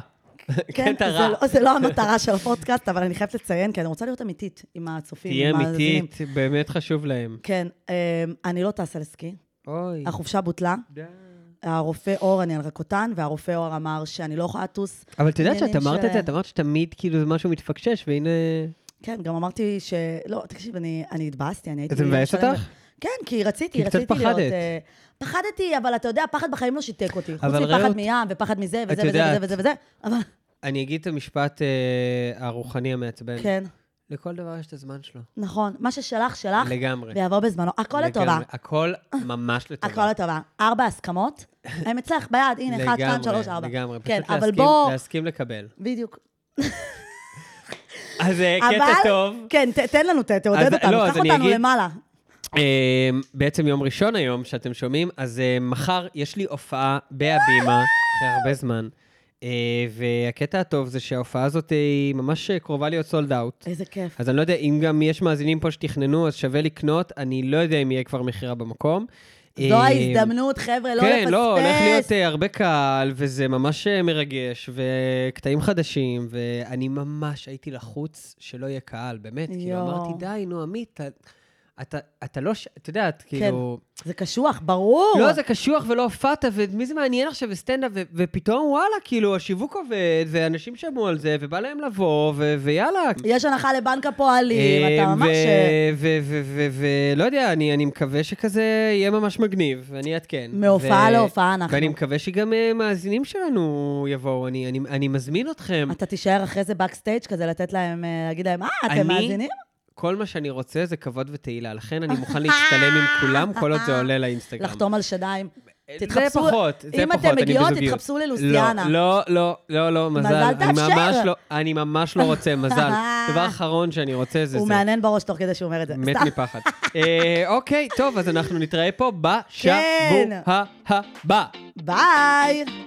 Speaker 2: קטע
Speaker 1: זה
Speaker 2: רע.
Speaker 1: לא- זה לא המטרה של הפודקאסט, אבל אני חייבת לציין, כי אני רוצה להיות אמיתית עם הצופים.
Speaker 2: תהיה
Speaker 1: עם המאזינים.
Speaker 2: אמיתית, באמת חשוב להם.
Speaker 1: כן, אה, אני לא טסה לסקי,
Speaker 2: אוי.
Speaker 1: החופשה בוטלה.
Speaker 2: די.
Speaker 1: הרופא אור, אני על רקותן, והרופא אור אמר שאני לא יכולה לטוס.
Speaker 2: אבל את יודעת שאת
Speaker 1: עניינים
Speaker 2: אמרת את זה,
Speaker 1: שלהם.
Speaker 2: את אמרת שתמיד כאילו זה משהו מתפקשש, והנה...
Speaker 1: כן, גם אמרתי ש... לא, תקשיב, אני, אני התבאסתי, אני הייתי...
Speaker 2: זה מבאס
Speaker 1: שלם
Speaker 2: אותך?
Speaker 1: ב- כן, כי רציתי,
Speaker 2: כי קצת
Speaker 1: רציתי להיות...
Speaker 2: פחדת.
Speaker 1: אה, פחדתי, אבל אתה יודע, פחד בחיים לא שיתק אותי. חוץ
Speaker 2: אבל רעות-
Speaker 1: מפחד מים, ופחד מזה,
Speaker 2: את
Speaker 1: וזה, וזה,
Speaker 2: יודעת-
Speaker 1: וזה, וזה, וזה, אבל...
Speaker 2: אני אגיד את המשפט אה, הרוחני המעצבן.
Speaker 1: כן.
Speaker 2: לכל דבר יש את הזמן שלו.
Speaker 1: נכון, מה ששלח, שלח,
Speaker 2: לגמרי.
Speaker 1: ויעבור בזמנו. הכל לטובה.
Speaker 2: לגמרי. הכל ממש לטובה.
Speaker 1: הכל לטובה. ארבע הסכמות, הם אצלך ביד, הנה, אחת, שתיים, שלוש, ארבע.
Speaker 2: לגמרי,
Speaker 1: כן,
Speaker 2: פשוט
Speaker 1: אבל
Speaker 2: להסכים-
Speaker 1: בוא...
Speaker 2: להסכים לקבל.
Speaker 1: בדיוק.
Speaker 2: אז אה,
Speaker 1: אבל-
Speaker 2: קטע טוב.
Speaker 1: כן, ת- תן לנו, ת-
Speaker 2: אז-
Speaker 1: תעודד אותנו,
Speaker 2: לא, אז
Speaker 1: קח
Speaker 2: אני
Speaker 1: אותנו
Speaker 2: אגיד-
Speaker 1: למעלה.
Speaker 2: אה, בעצם יום ראשון היום שאתם שומעים, אז אה, מחר יש לי הופעה בהבימה, אחרי הרבה זמן. אה, והקטע הטוב זה שההופעה הזאת אה, היא ממש אה, קרובה להיות סולד אאוט.
Speaker 1: איזה כיף.
Speaker 2: אז אני לא יודע, אם גם יש מאזינים פה שתכננו, אז שווה לקנות, אני לא יודע אם יהיה כבר מכירה במקום.
Speaker 1: זו
Speaker 2: אה,
Speaker 1: ההזדמנות, חבר'ה, לא לפספס.
Speaker 2: כן, לא, הולך להיות אה, הרבה קהל, וזה ממש אה, מרגש, וקטעים חדשים, ואני ממש הייתי לחוץ שלא יהיה קהל, באמת. כאילו,
Speaker 1: יואו.
Speaker 2: אמרתי, די, נו, עמית, אתה- אתה- אתה לא... ש- את יודעת,
Speaker 1: כן.
Speaker 2: כאילו...
Speaker 1: זה קשוח, ברור.
Speaker 2: לא, זה קשוח ולא הופעת, ומי זה מעניין עכשיו בסטנדאפ, ו- ופתאום, וואלה, כאילו, השיווק עובד, ואנשים שמעו על זה, ובא להם לבוא, ו- ויאללה.
Speaker 1: יש הנחה לבנק הפועלים, אתה
Speaker 2: אה,
Speaker 1: ממש... אה,
Speaker 2: ו- ו- ו- ו- ולא יודע, אני אני מקווה שכזה יהיה ממש מגניב, ואני אעדכן.
Speaker 1: מהופעה
Speaker 2: ו-
Speaker 1: להופעה אנחנו.
Speaker 2: ואני מקווה שגם אה, מאזינים שלנו יבואו, אני- אני אני מזמין אתכם.
Speaker 1: אתה תישאר אחרי זה בקסטייג' כזה לתת להם, אה, להגיד להם, אה,
Speaker 2: אני-
Speaker 1: אתם מאזינים?
Speaker 2: כל מה שאני רוצה זה כבוד ותהילה, לכן אני מוכן להצטלם עם כולם כל עוד זה עולה לאינסטגרם.
Speaker 1: לחתום על שדיים.
Speaker 2: אה, זה
Speaker 1: תתחפשו-
Speaker 2: פחות, זה פחות, אני
Speaker 1: אם
Speaker 2: בזוגיות.
Speaker 1: אתם מגיעות, תתחפשו ללוסיאנה.
Speaker 2: לא, לא, לא, לא, לא, מזל.
Speaker 1: מזל
Speaker 2: אני
Speaker 1: תאפשר.
Speaker 2: ממש לא, אני ממש לא רוצה מזל. דבר אחרון שאני רוצה זה
Speaker 1: הוא
Speaker 2: זה.
Speaker 1: מהנהן בראש תוך כדי שהוא אומר את זה.
Speaker 2: מת
Speaker 1: סתם.
Speaker 2: מפחד. אה, אוקיי, טוב, אז אנחנו נתראה פה בשבוע
Speaker 1: כן.
Speaker 2: הבא.
Speaker 1: ביי!